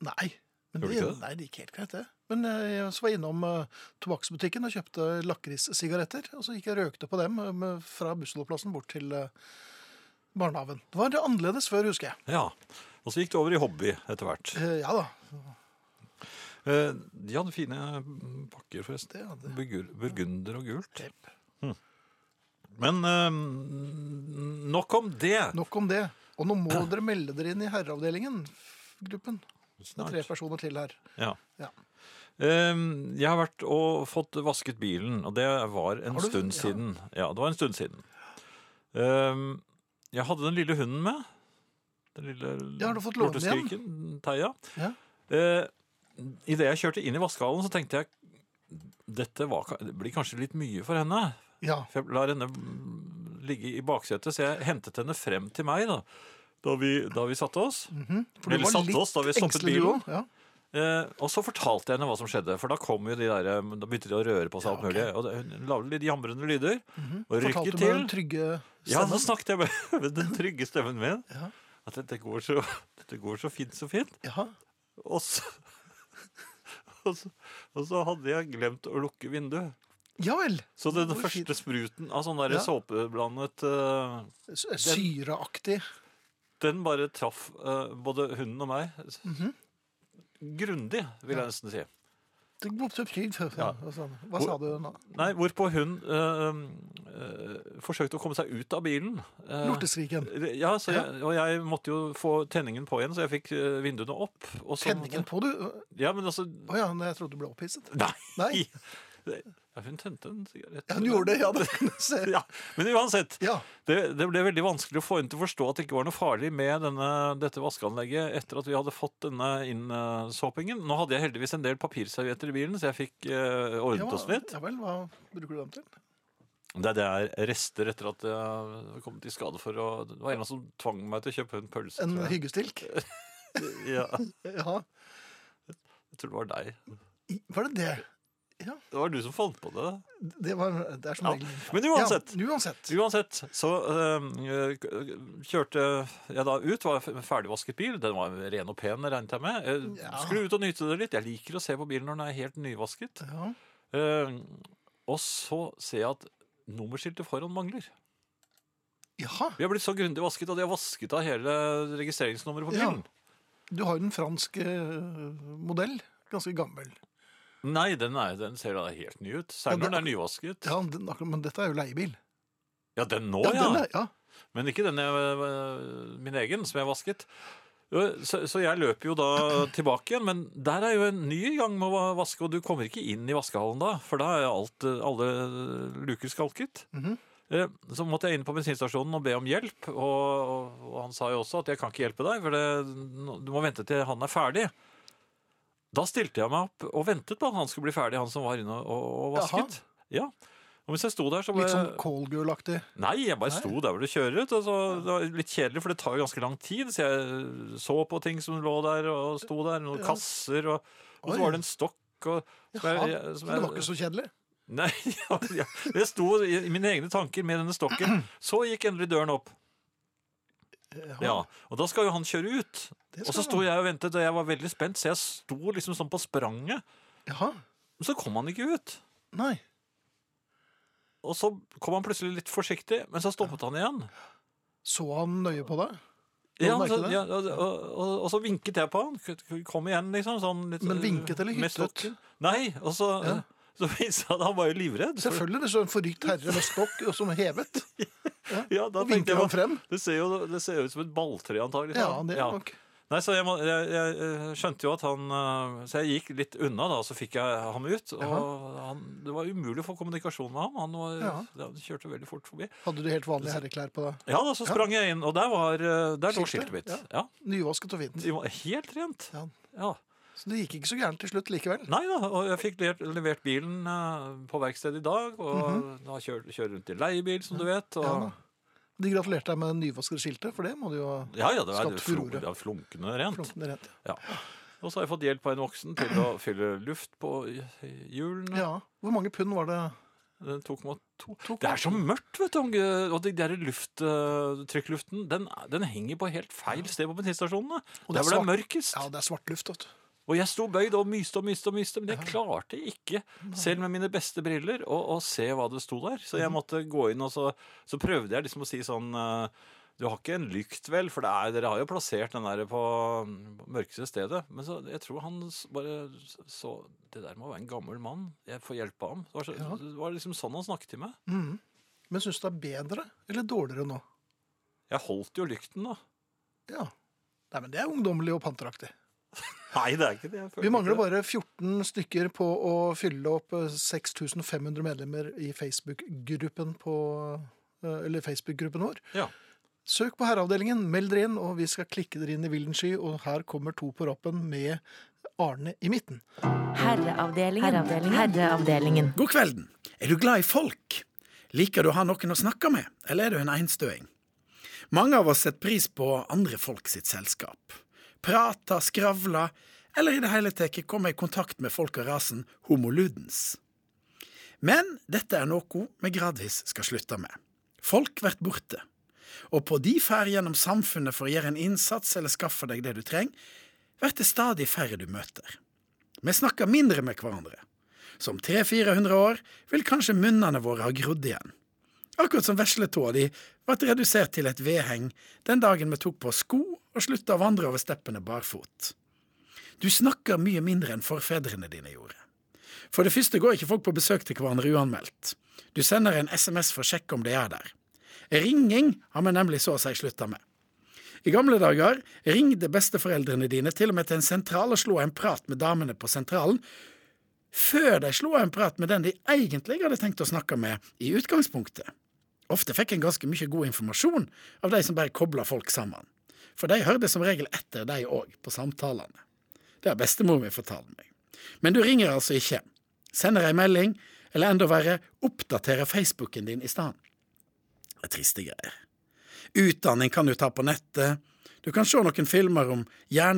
B: Nei. Men
C: Gjorde
B: det,
C: du ikke det?
B: nei, det gikk helt greit, det. Men eh, jeg også var innom eh, tobakksbutikken og kjøpte lakrissigaretter. Og så gikk jeg og røkte på dem eh, med- fra bussholdeplassen bort til eh, barnehagen. Det var annerledes før, husker jeg.
C: Ja. Og så gikk det over i hobby etter hvert.
B: Eh, ja da.
C: Eh, De hadde fine mm, pakker, forresten.
B: Det hadde
C: Burgur- Burgunder og gult.
B: Jepp.
C: Men eh, nok om det.
B: Nok om det. Og nå må dere melde dere inn i herreavdelingen. Gruppen. Det er tre
C: Snart.
B: personer til her.
C: Ja.
B: Ja.
C: Eh, Jeg har vært og fått vasket bilen, og det var en
B: Har du-
C: stund
B: ja.
C: siden. Ja, det var en stund siden. Eh, Jeg hadde den lille hunden med. Den lille
B: Ja, har du fått låne den igjen?
C: lorteskriken, Theia.
B: Ja.
C: Eh, Idet jeg kjørte inn i vaskehallen, så tenkte jeg dette var, ka- det blir kanskje litt mye for henne.
B: ja.
C: For jeg lar henne ligge i baksetet, så jeg hentet henne frem til meg da, da, vi, da vi satte oss.
B: mhm. For du
C: Eller
B: var
C: satte
B: litt
C: oss da vi stoppet
B: engstelig, du
C: bilen.
B: også. Ja.
C: Eh, og så fortalte jeg henne hva som skjedde, for da kom jo de der, eh, da begynte de å røre på
B: Ja,
C: seg alt
B: ok.
C: mulig. Og det- hun la litt jamrende lyder. Og
B: Mhm. Fortalte
C: rykket
B: du med den
C: til.
B: trygge
C: Ja, så
B: stemmen?
C: snakket jeg med, med den trygge stemmen min.
B: Ja.
C: At dette går så, dette går så fint, så fint.
B: Ja.
C: Og så, og, så, og så hadde jeg glemt å lukke vinduet.
B: ja vel.
C: Så den
B: Hvor fint.
C: første spruten av sånn der
B: Ja.
C: såpeblandet eh,
B: S- Syreaktig.
C: Den bare traff eh, både hunden og meg.
B: Mhm.
C: Grundig, vil jeg nesten si.
B: Det går opp til før,
C: Ja.
B: og sånn. Hva sa du nå?
C: Nei, Hvorpå hun eh, eh, forsøkte å komme seg ut av bilen. Eh,
B: Lorteskriken.
C: ja, så jeg, Og jeg måtte jo få tenningen på igjen, så jeg fikk eh, vinduene opp. Og så,
B: Tenningen på, du?
C: Ja, men altså
B: Å ja, nei, jeg trodde du ble opphisset.
C: Nei!
B: Nei.
C: Ja, hun tente en sigarett.
B: Ja, hun gjorde det, ja. Det kan jeg se.
C: Ja, Men uansett,
B: Ja.
C: det, det ble veldig vanskelig å få henne til å forstå at det ikke var noe farlig med denne, dette vaskeanlegget etter at vi hadde fått denne innsåpingen. Nå hadde jeg heldigvis en del papirservietter i bilen, så jeg fikk
B: Ja,
C: eh, ordnet oss litt.
B: ja vel, hva bruker du dem til?
C: Det, det er rester etter at jeg har kommet i skade for å Det var en eller annen som tvang meg til å kjøpe en pølse.
B: En
C: tror jeg.
B: hyggestilk?
C: Ja,
B: Ja.
C: jeg tror det var deg.
B: I- Var det det?
C: Det var du som fant på det.
B: Det, var, det er som
C: Ja,
B: regel
C: Men uansett.
B: Ja, uansett.
C: Uansett, så eh, kjørte jeg da ut, var f- ferdigvasket bil. Den var ren og pen, regnet jeg med. Jeg
B: Ja.
C: Skulle ut og nyte det litt. Jeg liker å se på bilen når den er helt nyvasket.
B: Ja.
C: Eh, og så ser jeg at nummerskiltet foran mangler.
B: Jaha,
C: Vi har blitt så grundig vasket, og de har vasket av hele registreringsnummeret på
B: Ja.
C: bilen.
B: du har jo en fransk eh, modell. Ganske gammel.
C: Nei, den, er, den ser da helt ny ut.
B: Ja,
C: Særlig når den
B: det-
C: er nyvasket.
B: Ja, den, akkurat, Men dette er jo leiebil.
C: Ja, den nå,
B: Ja,
C: ja.
B: den er, ja.
C: Men ikke den jeg, øh, min egen, som jeg vasket. Øh, Så, så jeg løper jo da tilbake igjen, men der er jo en ny gang med å va- vaske, og du kommer ikke inn i vaskehallen da, for da er alt, øh, alle luker skalket.
B: Mhm.
C: Eh, Så måtte jeg inn på bensinstasjonen og be om hjelp, og, og, og han sa jo også at jeg kan ikke hjelpe deg, for det, nå- du må vente til han er ferdig. Da stilte jeg meg opp og ventet på at han skulle bli ferdig, han som var inne og, og
B: Jaha.
C: vasket. Ja, og eh, mens jeg sto der så ble
B: Litt sånn Callgirl-aktig.
C: Nei, jeg bare
B: Nei.
C: sto der hvor det kjører ut. Og så, det var litt kjedelig, for det tar jo ganske lang tid. Så jeg så på ting som lå der, og sto der. Noen
B: Ja.
C: kasser, og, og
B: Oi.
C: så var det en stokk. Og, som jeg-
B: Jaha,
C: jeg- som
B: Men det var
C: jeg-
B: ikke så kjedelig.
C: Nei, ja, ja. Jeg sto i i mine egne tanker med denne stokken. Så gikk endelig døren opp. Ja, Og da skal jo han kjøre ut.
B: det
C: Og så
B: skal
C: sto jeg og ventet, og jeg var veldig spent, så jeg sto liksom sånn på spranget.
B: Jaha,
C: Men så kom han ikke ut.
B: nei.
C: Og så kom han plutselig litt forsiktig, men så stoppet han igjen.
B: Så han nøye på deg? Nå
C: Ja,
B: merket
C: så,
B: jeg
C: ja og, og, og så vinket jeg på han. K- k- Kom igjen, liksom. Sånn litt,
B: Men vinket eller
C: med stokk.
B: hyttet?
C: Nei, og så,
B: Ja.
C: så viste han at han var jo livredd. for-
B: Selvfølgelig. Det står en forrykt herre med stokk og som er hevet.
C: Ja, da
B: Og
C: tenkte
B: vinker
C: jeg
B: han
C: bare,
B: frem.
C: det ser jo det ser jo ut som et balltre, antagelig.
B: Ja, det er
C: Ja.
B: nok.
C: Nei, så jeg, må- jeg, jeg eh, skjønte jo at han eh, Så jeg gikk litt unna, da, og så fikk jeg ham ut. Og han, det var umulig å få kommunikasjon med ham. Han, var,
B: Ja.
C: han kjørte veldig fort forbi.
B: Hadde du helt vanlige herreklær på deg?
C: Ja, da, så sprang jeg inn, og der, var, eh, der lå
B: Skiltet,
C: skiltet mitt.
B: ja.
C: Ja.
B: Nyvasket og fint.
C: Det var helt rent.
B: Ja.
C: ja.
B: Så det gikk ikke så gærent til slutt likevel.
C: Nei da, og jeg fikk levert, levert bilen eh, på verkstedet i dag, og da kjør, kjører rundt i leiebil, som du vet. Og,
B: Mhm. Ja
C: ja,
B: da. De gratulerte deg med nyvaskede skiltet, for det må du jo
C: ja, det er
B: Skapt
C: flunk,
B: furore.
C: det er flunkende rent.
B: flunkende rent.
C: Ja. Og så har jeg fått hjelp av en voksen til å fylle luft på i- i hjulene.
B: Ja. Hvor mange pund var det
C: Den 2,2.
B: 2,2.
C: Det er så mørkt, vet du. Ange, Og den der luft, eh, trykkluften den, den henger på helt feil sted på bensinstasjonene.
B: Og det er
C: Der hvor det er
B: svart.
C: mørkest.
B: Ja, det er svart luft, vet du.
C: Og jeg sto bøyd og myste og myste, og myste, men jeg klarte ikke, selv med mine beste briller, å, å se hva det sto der. Så jeg
B: Mhm.
C: måtte gå inn, og så, så prøvde jeg liksom å si sånn eh, Du har ikke en lykt, vel? For det er, dere har jo plassert den der på på mørkeste stedet. Men så, jeg tror han s- bare s- så Det der må være en gammel mann. Jeg får hjelpe ham. Det var, så,
B: Ja.
C: det var liksom sånn han snakket til meg.
B: Mhm. Men syns du det er bedre eller dårligere nå?
C: Jeg holdt jo lykten, da.
B: Ja. Nei, men Det er ungdommelig og panteraktig.
C: Nei, det er ikke det. Jeg føler
B: Vi mangler
C: ikke det.
B: bare 14 stykker på å fylle opp eh, 6500 medlemmer i Facebook-gruppen på eh, Eller Facebook-gruppen vår.
C: Ja.
B: Søk på Herreavdelingen, meld dere inn, og vi skal klikke dere inn i villen sky. Og her kommer to på rappen med Arne i midten.
F: Herreavdelingen. Herreavdelingen. Herreavdelingen.
I: God kvelden. Er du glad i folk? Liker du å ha noen å snakke med, eller er du en enstøing? Mange av oss setter pris på andre folk sitt selskap. Prata, skravla, eller i det hele tatt komme i kontakt med folk av rasen homo ludens. Men dette er noe vi gradvis skal slutte med. Folk blir borte. Og på de ferd gjennom samfunnet for å gjøre en innsats eller skaffe deg det du trenger, blir det stadig færre du møter. Vi snakker mindre med hverandre. Som 300-400 år vil kanskje munnene våre ha grodd igjen. Akkurat som vesletåa di ble redusert til et vedheng den dagen vi tok på oss sko og slutta å vandre over steppene barfot. Du snakker mye mindre enn forfedrene dine gjorde. For det første går ikke folk på besøk til hverandre uanmeldt. Du sender en SMS for å sjekke om de er der. Ringing har vi nemlig så å si slutta med. I gamle dager ringte besteforeldrene dine til og med til en sentral og slo en prat med damene på sentralen før de slo en prat med den de egentlig hadde tenkt å snakke med i utgangspunktet. Ofte fikk en ganske mye god informasjon av de som bare kobla folk sammen, for de hørte som regel etter de òg, på samtalene. Det har bestemor mi fortalt meg. Men du ringer altså ikke, sender ei melding, eller enda verre, oppdaterer Facebooken din i stedet. Det er triste greier. Utdanning kan du ta på nettet. Du kan se noen filmer om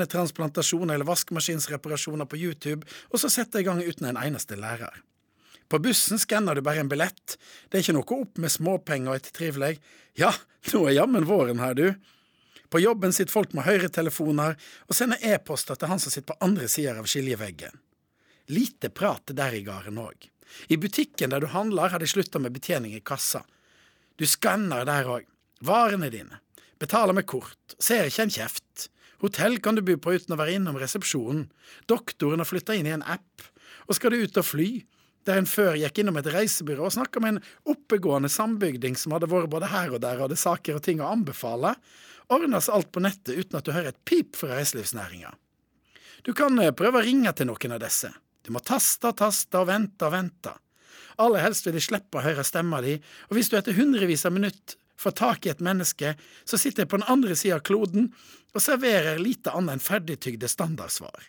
I: hjernetransplantasjon eller vaskemaskinsreparasjoner på YouTube, og så sette i gang uten en eneste lærer. På bussen skanner du bare en billett, det er ikke noe opp med småpenger og et trivelig Ja, nå er jammen våren her, du. På jobben sitter folk med høyretelefoner og sender e-poster til han som sitter på andre sider av skiljeveggen. Lite prat der i gården òg. I butikken der du handler, har de slutta med betjening i kassa. Du skanner der òg. Varene dine. Betaler med kort. Ser ikke en kjeft. Hotell kan du bo på uten å være innom resepsjonen. Doktoren har flytta inn i en app. Og skal du ut og fly? Der en før gikk innom et reisebyrå og snakka med en oppegående sambygding som hadde vært både her og der og hadde saker og ting å anbefale, ordnes alt på nettet uten at du hører et pip fra reiselivsnæringa. Du kan eh, prøve å ringe til noen av disse. Du må taste og taste og vente og vente. Aller helst vil de slippe å høre stemma di, og hvis du etter hundrevis av minutt får tak i et menneske, så sitter jeg på den andre sida av kloden og serverer lite annet enn ferdigtygde standardsvar.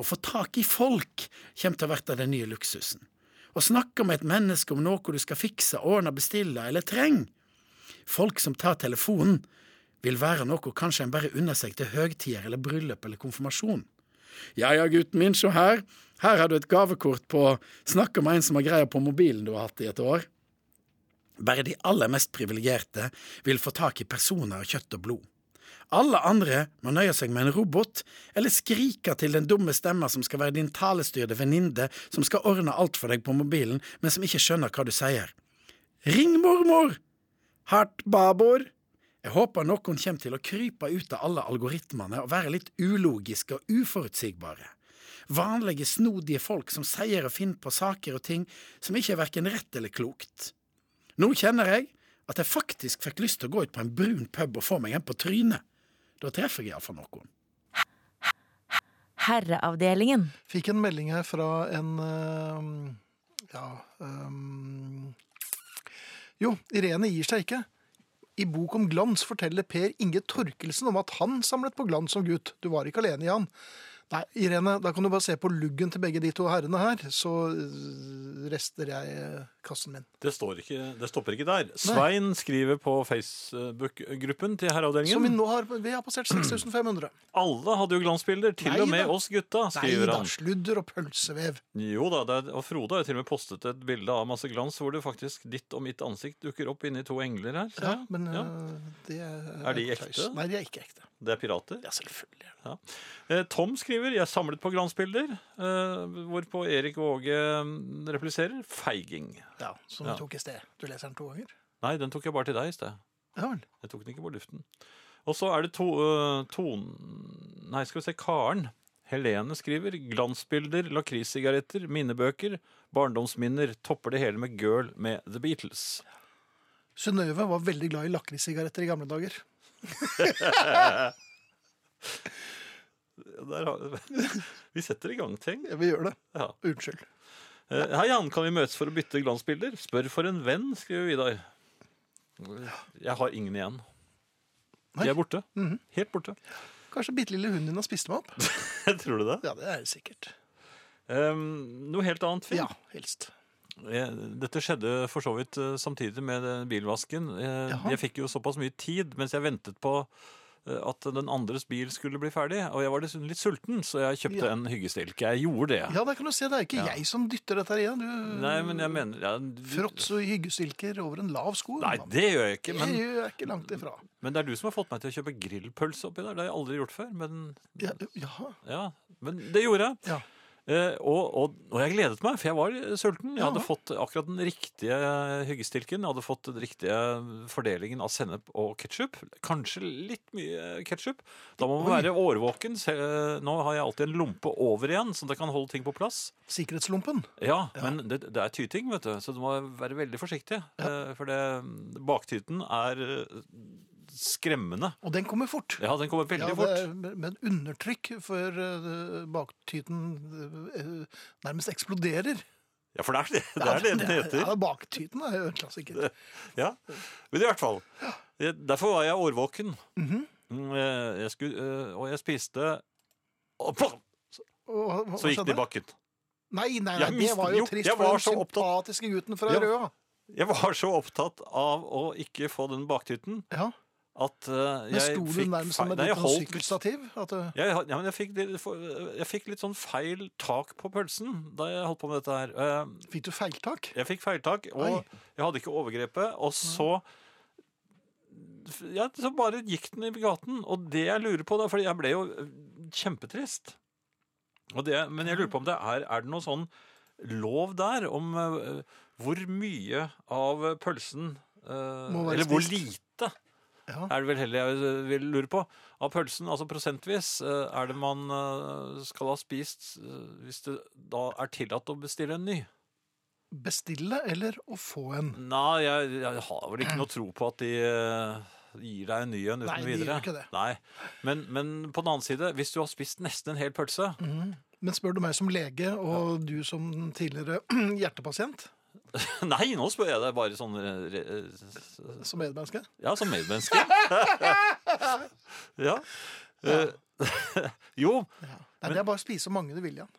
I: Å få tak i folk kommer til å bli den nye luksusen. Å snakke med et menneske om noe du skal fikse, ordne, bestille eller trenger. Folk som tar telefonen, vil være noe kanskje en bare unner seg til høgtider eller bryllup eller konfirmasjon. Ja ja, gutten min, se her. Her har du et gavekort på Snakk om en som har greia på mobilen du har hatt i et år. Bare de aller mest privilegerte vil få tak i personer av kjøtt og blod. Alle andre må nøye seg med en robot, eller skrike til den dumme stemma som skal være din talestyrde venninne som skal ordne alt for deg på mobilen, men som ikke skjønner hva du sier. Ring mormor! Hardt babord! Jeg håper noen kommer til å krype ut av alle algoritmene og være litt ulogiske og uforutsigbare. Vanlige, snodige folk som sier og finner på saker og ting som ikke er verken rett eller klokt. Nå kjenner jeg at jeg faktisk fikk lyst til å gå ut på en brun pub og få meg en på trynet. Da treffer jeg iallfall noen.
F: Herreavdelingen.
B: Fikk en melding her fra en eh, Ja ehm, Jo, Irene gir seg ikke. I bok om glans forteller Per Inge Torkelsen om at han samlet på glans som gutt. Du var ikke alene, Jan. Nei, Irene, da kan du bare se på luggen til begge de to herrene her, så øh, rester jeg øh, kassen min.
C: Det, står ikke, det stopper ikke der. Svein skriver på Facebook-gruppen til
B: Som vi
C: Herreavdelingen.
B: nå har, vi har passert 6500.
C: Alle hadde jo glansbilder, til
B: Nei
C: og med
B: da.
C: oss gutta,
B: Nei
C: skriver
B: da,
C: han.
B: sludder og pølsevev.
C: Jo da, det er, og Frode har jo til og med postet et bilde av masse glans hvor det faktisk ditt og mitt ansikt dukker opp inni to engler her. ser
B: Ja,
C: jeg.
B: men
C: Ja.
B: øh, det
C: Er de
B: tøys.
C: ekte?
B: Nei, de er ikke ekte.
C: Det er pirater.
B: Ja, selvfølgelig.
C: Eh, Tom skriver 'Jeg samlet på glansbilder', eh, hvorpå Erik Våge mm, repliserer 'feiging'.
B: Ja, Som
C: Ja.
B: du tok i sted. Du leser den to ganger?
C: Nei, den tok jeg bare til deg i sted.
B: Ja vel.
C: Jeg tok den ikke på luften. Og så er det to, eh, Ton... Nei, skal vi se. Karen. Helene skriver 'glansbilder, lakrissigaretter, minnebøker, barndomsminner'. Topper det hele med 'Girl' med The Beatles.
B: Synnøve var veldig glad i lakrissigaretter i gamle dager.
C: Der har... Vi setter i gang ting.
B: Jeg vil gjøre det.
C: Ja.
B: Unnskyld.
C: Eh, Hei, Jan. Kan vi møtes for å bytte glansbilder? Spør for en venn, skriver Vidar. Jeg har ingen igjen.
B: Nei.
C: De er borte. Helt borte.
B: Kanskje bitte lille hunden din har spist meg opp?
C: Tror du det?
B: Ja, det er det sikkert.
C: Um, noe helt annet, Finn.
B: Ja, helst.
C: Eh, Dette skjedde for så vidt eh, samtidig med eh, bilvasken. Eh,
B: Jaha.
C: Jeg fikk jo såpass mye tid mens jeg ventet på eh, at den andres bil skulle bli ferdig. Og jeg var dessuten litt sulten, så jeg kjøpte
B: Ja.
C: en hyggestilke. Jeg gjorde det.
B: Ja, der kan du se. Det er ikke
C: Ja.
B: jeg som dytter dette her igjen. Du
C: Nei, men jeg mener ja, du-
B: fråtser og hyggestilker over en lav sko.
C: Nei,
B: mann.
C: det gjør jeg ikke. Men,
B: Jeg er ikke langt ifra.
C: men det er du som har fått meg til å kjøpe grillpølse oppi der. Det har jeg aldri gjort før. Men,
B: Ja, jaha.
C: ja, men det gjorde jeg.
B: Ja.
C: Eh, og, og, og jeg gledet meg, for jeg var sulten. Jeg hadde
B: Ja.
C: fått akkurat den riktige hyggestilken. Jeg hadde fått den riktige fordelingen av sennep og ketsjup. Kanskje litt mye ketsjup. Da må man være årvåken. Se- eh, Nå har jeg alltid en lompe over igjen, så det kan holde ting på plass.
B: Sikkerhetslompen.
C: Ja, men det, det er tyting, vet du, så du må være veldig forsiktig. eh, For det, baktyten er eh, skremmende.
B: Og den kommer fort.
C: Ja, den kommer veldig
B: Ja, det
C: fort.
B: er med med undertrykk, for eh, baktyten eh, nærmest eksploderer.
C: Ja, for det er det det, er det den heter.
B: Ja, baktyten er jo en klassiker.
C: Ja, men i hvert fall. Jeg- Derfor var jeg årvåken.
B: Mhm.
C: Mm, eh, jeg skulle, eh, og jeg spiste og pom,
B: Og hva- hva
C: Så gikk det i
B: skjedde?
C: bakken.
B: Nei, nei, nei det
C: Jeg
B: var jo
C: mistet- jo,
B: trist
C: jeg
B: for
C: var
B: den
C: så opptatt-
B: sympatiske gutten fra
C: Ja.
B: Røa.
C: Jeg var så opptatt av å ikke få den baktyten
B: Ja,
C: at eh,
B: Men
C: jeg
B: sto du
C: fikk
B: nærmest
C: feil-
B: som et
C: Nei, jeg
B: lite
C: holdt litt-
B: sykkelstativ? At eh, du,
C: jeg, ja, men jeg, fikk, litt for- jeg fikk litt sånn feil tak på pølsen da jeg holdt på med dette her. Eh,
B: fikk du feiltak?
C: Jeg fikk feiltak, og
B: Oi.
C: jeg hadde ikke overgrepet. Og så ja, Så bare gikk den i gaten. Og det jeg lurer på, da, for jeg ble jo øh, kjempetrist og det, Men jeg lurer på om det er Er det noe sånn lov der om øh, hvor mye av pølsen øh,
B: Må være
C: Eller hvor
B: spist.
C: lite,
B: Ja.
C: er det vel heller jeg øh, vil lure på, av pølsen, altså prosentvis, øh, er det man øh, skal ha spist øh, hvis det da er tillatt å bestille en ny?
B: Bestille eller å få en?
C: Nei, jeg, jeg har vel ikke noe tro på at de eh, gir deg en ny en uten
B: Nei, de
C: videre.
B: gjør ikke det.
C: Nei, men, men på den annen side, hvis du har spist nesten en hel pølse
B: Mhm. Men spør du meg som lege, og du som tidligere hjertepasient,
C: Nei, nå spør jeg deg bare sånn eh, re- eh,
B: som medmenneske
C: Ja, som medmenneske. ja. Eh, jo.
B: Nei, det er bare å spise så mange du vil igjen.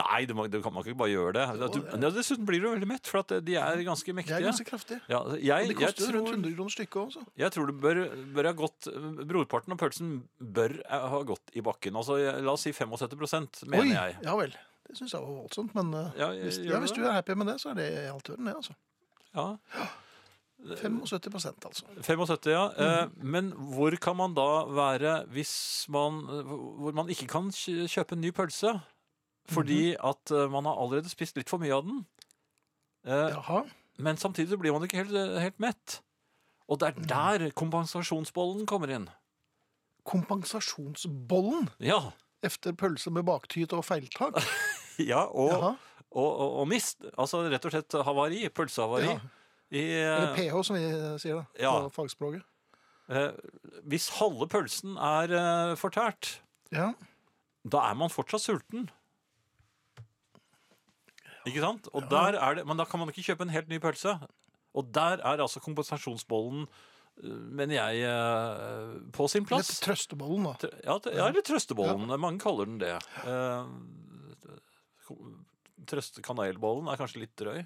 C: Nei, du, må, du kan man kan ikke bare gjøre det. Du, ja, dessuten blir du veldig mett, for at eh, de er ganske
B: Det
C: mektige.
B: er ganske kraftig.
C: ja,
B: Og
C: jeg,
B: det
C: jeg
B: koster
C: tror,
B: rundt 100 kroner stykket også.
C: Jeg tror det bør, bør ha gått Brorparten av pølsen bør eh, ha gått i bakken. Altså, jeg- la oss si 75 mener
B: Oi,
C: jeg.
B: ja vel. Det syns jeg var voldsomt, men eh,
C: Ja, jeg-
B: hvis,
C: gjør
B: ja,
C: du
B: hvis
C: det?
B: du er happy med det, så er det i alt orden, det, altså.
C: Ja, Eh.
B: 75 altså.
C: 75, ja. Eh,
B: Mm.
C: Men hvor kan man da være hvis man Hvor man ikke kan kj- kjøpe en ny pølse fordi
B: Mhm.
C: at eh, man har allerede spist litt for mye av den? Eh,
B: Jaha.
C: Men samtidig så blir man ikke helt, eh, helt mett. Og det
B: Mm.
C: er der kompensasjonsbollen kommer inn.
B: Kompensasjonsbollen
C: Ja,
B: efter pølse med baktyt og feiltak.
C: ja og,
B: Jaha.
C: og, og, og mist. Altså rett og slett havari. Pølsehavari.
B: Ja.
C: I,
B: Eller pH, som vi sier da, på
C: eh. Ja.
B: fagspråket.
C: eh, hvis halve pølsen er eh, fortært,
B: Ja.
C: da er man fortsatt sulten. Ikke sant? Og der er det, men da kan man ikke kjøpe en helt ny pølse. Og der er altså kompensasjonsbollen Men jeg eh, På sin
B: Litt
C: plass.
B: trøstebollen, da.
C: Tr- Ja, t- ja, eller trøstebollen. Mange kaller den det. Eh, Trøstekanelbollen er kanskje litt drøy.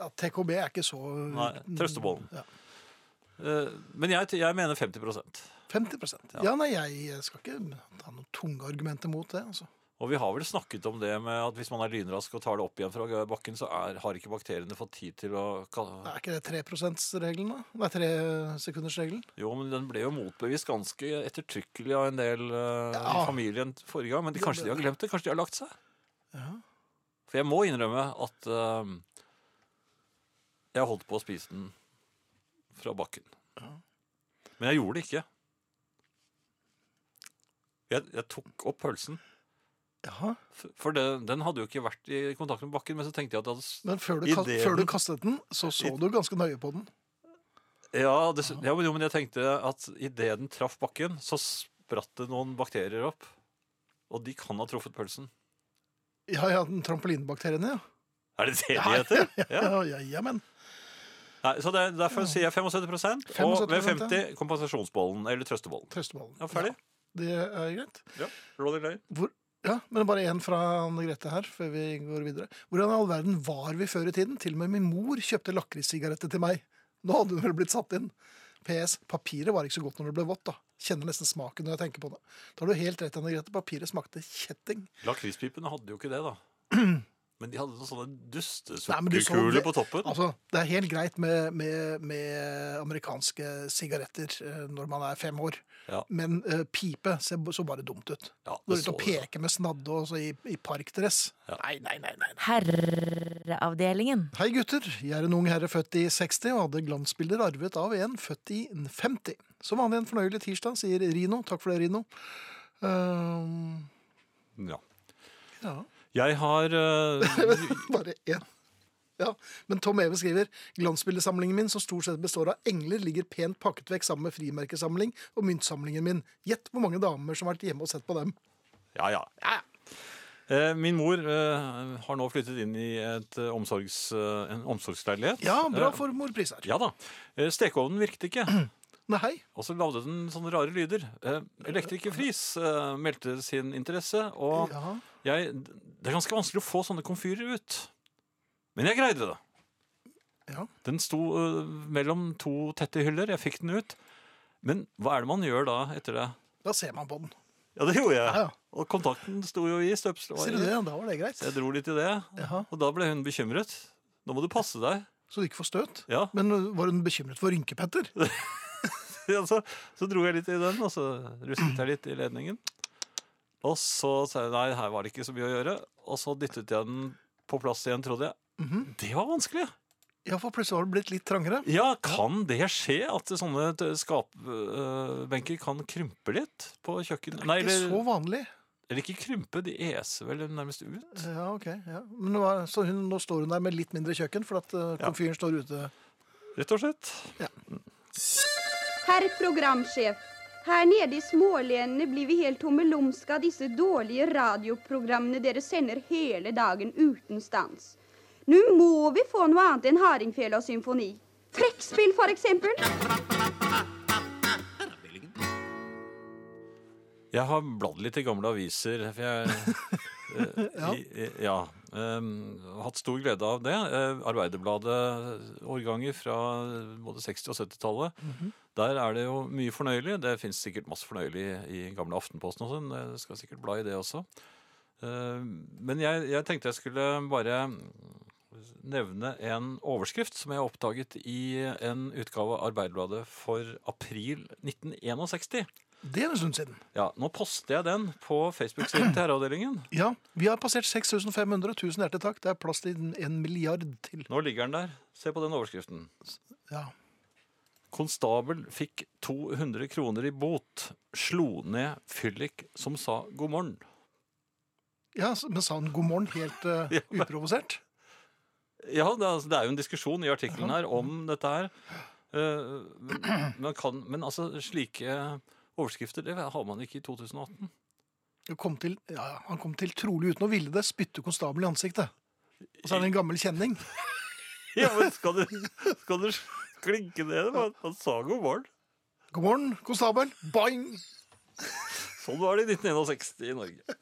B: Ja, TKB er ikke så
C: Nei, trøstebollen.
B: Ja.
C: Eh, Men jeg, t- jeg mener 50
B: 50
C: Ja.
B: ja. nei, jeg skal ikke ta noen tunge argumenter mot det. altså.
C: Og vi har vel snakket om det med at hvis man er lynrask og tar det opp igjen fra bakken, så er, har ikke bakteriene fått tid til å ka-
B: Er ikke det 3 %-regelen, da? Nei, 3 sekundersregelen?
C: Jo, men den ble jo motbevist ganske ettertrykkelig av en del eh, i
B: Ja.
C: familien forrige gang. Men de,
B: Det
C: kanskje
B: ble
C: de har
B: det.
C: glemt det? Kanskje de har lagt seg?
B: Ja.
C: For jeg må innrømme at eh, jeg holdt på å spise den fra bakken. Men jeg gjorde det ikke. Jeg, jeg tok opp pølsen,
B: Jaha.
C: f- for det, den hadde jo ikke vært i kontakt med bakken. Men så tenkte jeg at jeg hadde s-
B: Men før du,
C: I
B: kast,
C: det
B: før du
C: den-
B: kastet den, så så du ganske nøye på den.
C: Ja, det, ja men, jo, men jeg tenkte at idet den traff bakken, så spratt det noen bakterier opp. Og de kan ha truffet pølsen.
B: Ja, ja, den trampolinebakterien, ja.
C: Er det det de heter? Ja.
B: Ja, ja, ja, men.
C: Nei, så det, derfor sier jeg 75 og
B: 75%,
C: ved
B: ja.
C: 50 kompensasjonsbollen eller trøstebollen.
B: Trøstebollen.
C: Ja, ferdig.
B: Det er greit.
C: Rolling Lane.
B: Hvor, ja, men bare én fra Anne Grete her, før vi går videre. Hvordan i all verden var vi før i tiden? Til og med min mor kjøpte lakrissigaretter til meg. Nå hadde hun vel blitt satt inn. PS. Papiret var ikke så godt når det ble vått, da. Kjenner nesten smaken når jeg tenker på det. Da har du helt rett, Anne Grete. Papiret smakte kjetting.
C: Lakrispipene hadde jo ikke det, da. Men de hadde noen sånne
B: Nei, men du så
C: dustesukkerkuler
B: det-
C: på toppen.
B: Altså, det er helt greit med, med, med amerikanske sigaretter eh, når man er fem år.
C: Ja.
B: Men eh, pipe ser b- så bare dumt ut.
C: Ja,
B: Går
C: det
B: ut
C: så
B: og
C: det.
B: peker med snadde og så i, i parkdress. Nei, nei, nei, nei.
F: Herreavdelingen.
B: Hei gutter, jeg er en ung herre født i 60 og hadde glansbilder arvet av en født i 50. Som vanlig en fornøyelig tirsdag, sier Rino. Takk for det, Rino. Ehm,
C: Ja.
B: ja,
C: Jeg har eh,
B: bare én. Ja, Men Tom Even skriver glansbildesamlingen min, som stort sett består av engler, ligger pent pakket vekk sammen med frimerkesamling og myntsamlingen min. Gjett hvor mange damer som har vært hjemme og sett på dem.
C: Ja, ja. Eh, Min mor eh, har nå flyttet inn i et, eh, omsorgs, eh, en omsorgsleilighet.
B: Ja, bra
C: Eh,
B: for morpris her.
C: Ja da. Eh, Stekeovnen virket ikke,
B: Nei,
C: og så lagde den sånne rare lyder. Eh, Elektriker Friis eh, meldte sin interesse, og
B: ja.
C: jeg Det er ganske vanskelig å få sånne komfyrer ut. Men jeg greide det.
B: Ja.
C: Den sto eh, mellom to tette hyller. Jeg fikk den ut. Men hva er det man gjør da etter det?
B: Da ser man på den.
C: Ja, det gjorde jeg.
B: Ja, ja.
C: Og kontakten sto jo i støpselen.
B: Ser du det? Da var det greit.
C: Jeg dro litt i det,
B: Jaha.
C: og da ble hun bekymret. Nå må du passe deg.
B: Så du ikke får støt?
C: Ja,
B: Men øh, var hun bekymret for rynkepetter?
C: så, så dro jeg litt i den, og så rusket jeg litt i ledningen. Og så sa jeg nei, her var det ikke så mye å gjøre. Og så dyttet jeg den på plass igjen, trodde jeg.
B: Mhm.
C: Det var vanskelig!
B: Ja, for plutselig har det blitt litt trangere.
C: Ja, kan det skje at sånne t- skapbenker kan krympe litt på kjøkkenet? Nei,
B: Ikke så
C: eller,
B: vanlig.
C: eller ikke krympe, de eser vel nærmest ut.
B: Ja, ok. Ja. Men nå, er, så hun, nå står hun der med litt mindre kjøkken, for at øh,
C: Ja.
B: komfyren står ute.
C: Rett og slett.
J: Herr programsjef, her nede i smålenene blir vi helt tommelumske av disse dårlige radioprogrammene dere sender hele dagen uten stans. Nå må vi få noe annet enn hardingfele og symfoni. Trekkspill, for eksempel.
C: Jeg har bladd litt i gamle aviser. For jeg, ja. ja ehm, har hatt stor glede av det. Eh, Arbeiderbladet, eh, årganger fra både 60- og 70-tallet. Der er det jo mye fornøyelig. Det fins sikkert masse fornøyelig i gamle Aftenposten og sånn. Jeg skal sikkert bla i det også. Eh, men jeg, jeg tenkte jeg skulle bare nevne en overskrift som jeg oppdaget i en utgave av Arbeiderbladet for april 1961.
B: Det er en stund siden.
C: Ja, nå poster jeg den på Facebook-siden til herreavdelingen.
B: Ja, Vi har passert 6500. Tusen hjertelig takk. Det er plass til en milliard til.
C: Nå ligger den der. Se på den overskriften.
B: Ja.
C: Konstabel fikk 200 kroner i bot. Slo ned fyllik som sa god morgen.
B: ja, s- Men sa hun god morgen helt øh,
C: Ja.
B: uprovosert?
C: Ja, det er, det er jo en diskusjon i artikkelen her om dette her. Eh, Men, man kan, men altså, slike overskrifter det har man ikke i 2018.
B: Hun Kom til, ja, ja, han kom til trolig uten å ville det, spytte konstabel i ansiktet. Og så er det en gammel kjenning.
C: Ja, men skal du, skal du, klinkende igjen. Man, man sa god morgen.
B: God morgen, konstabel. Boing!
C: Sånn var det i 1961 i Norge.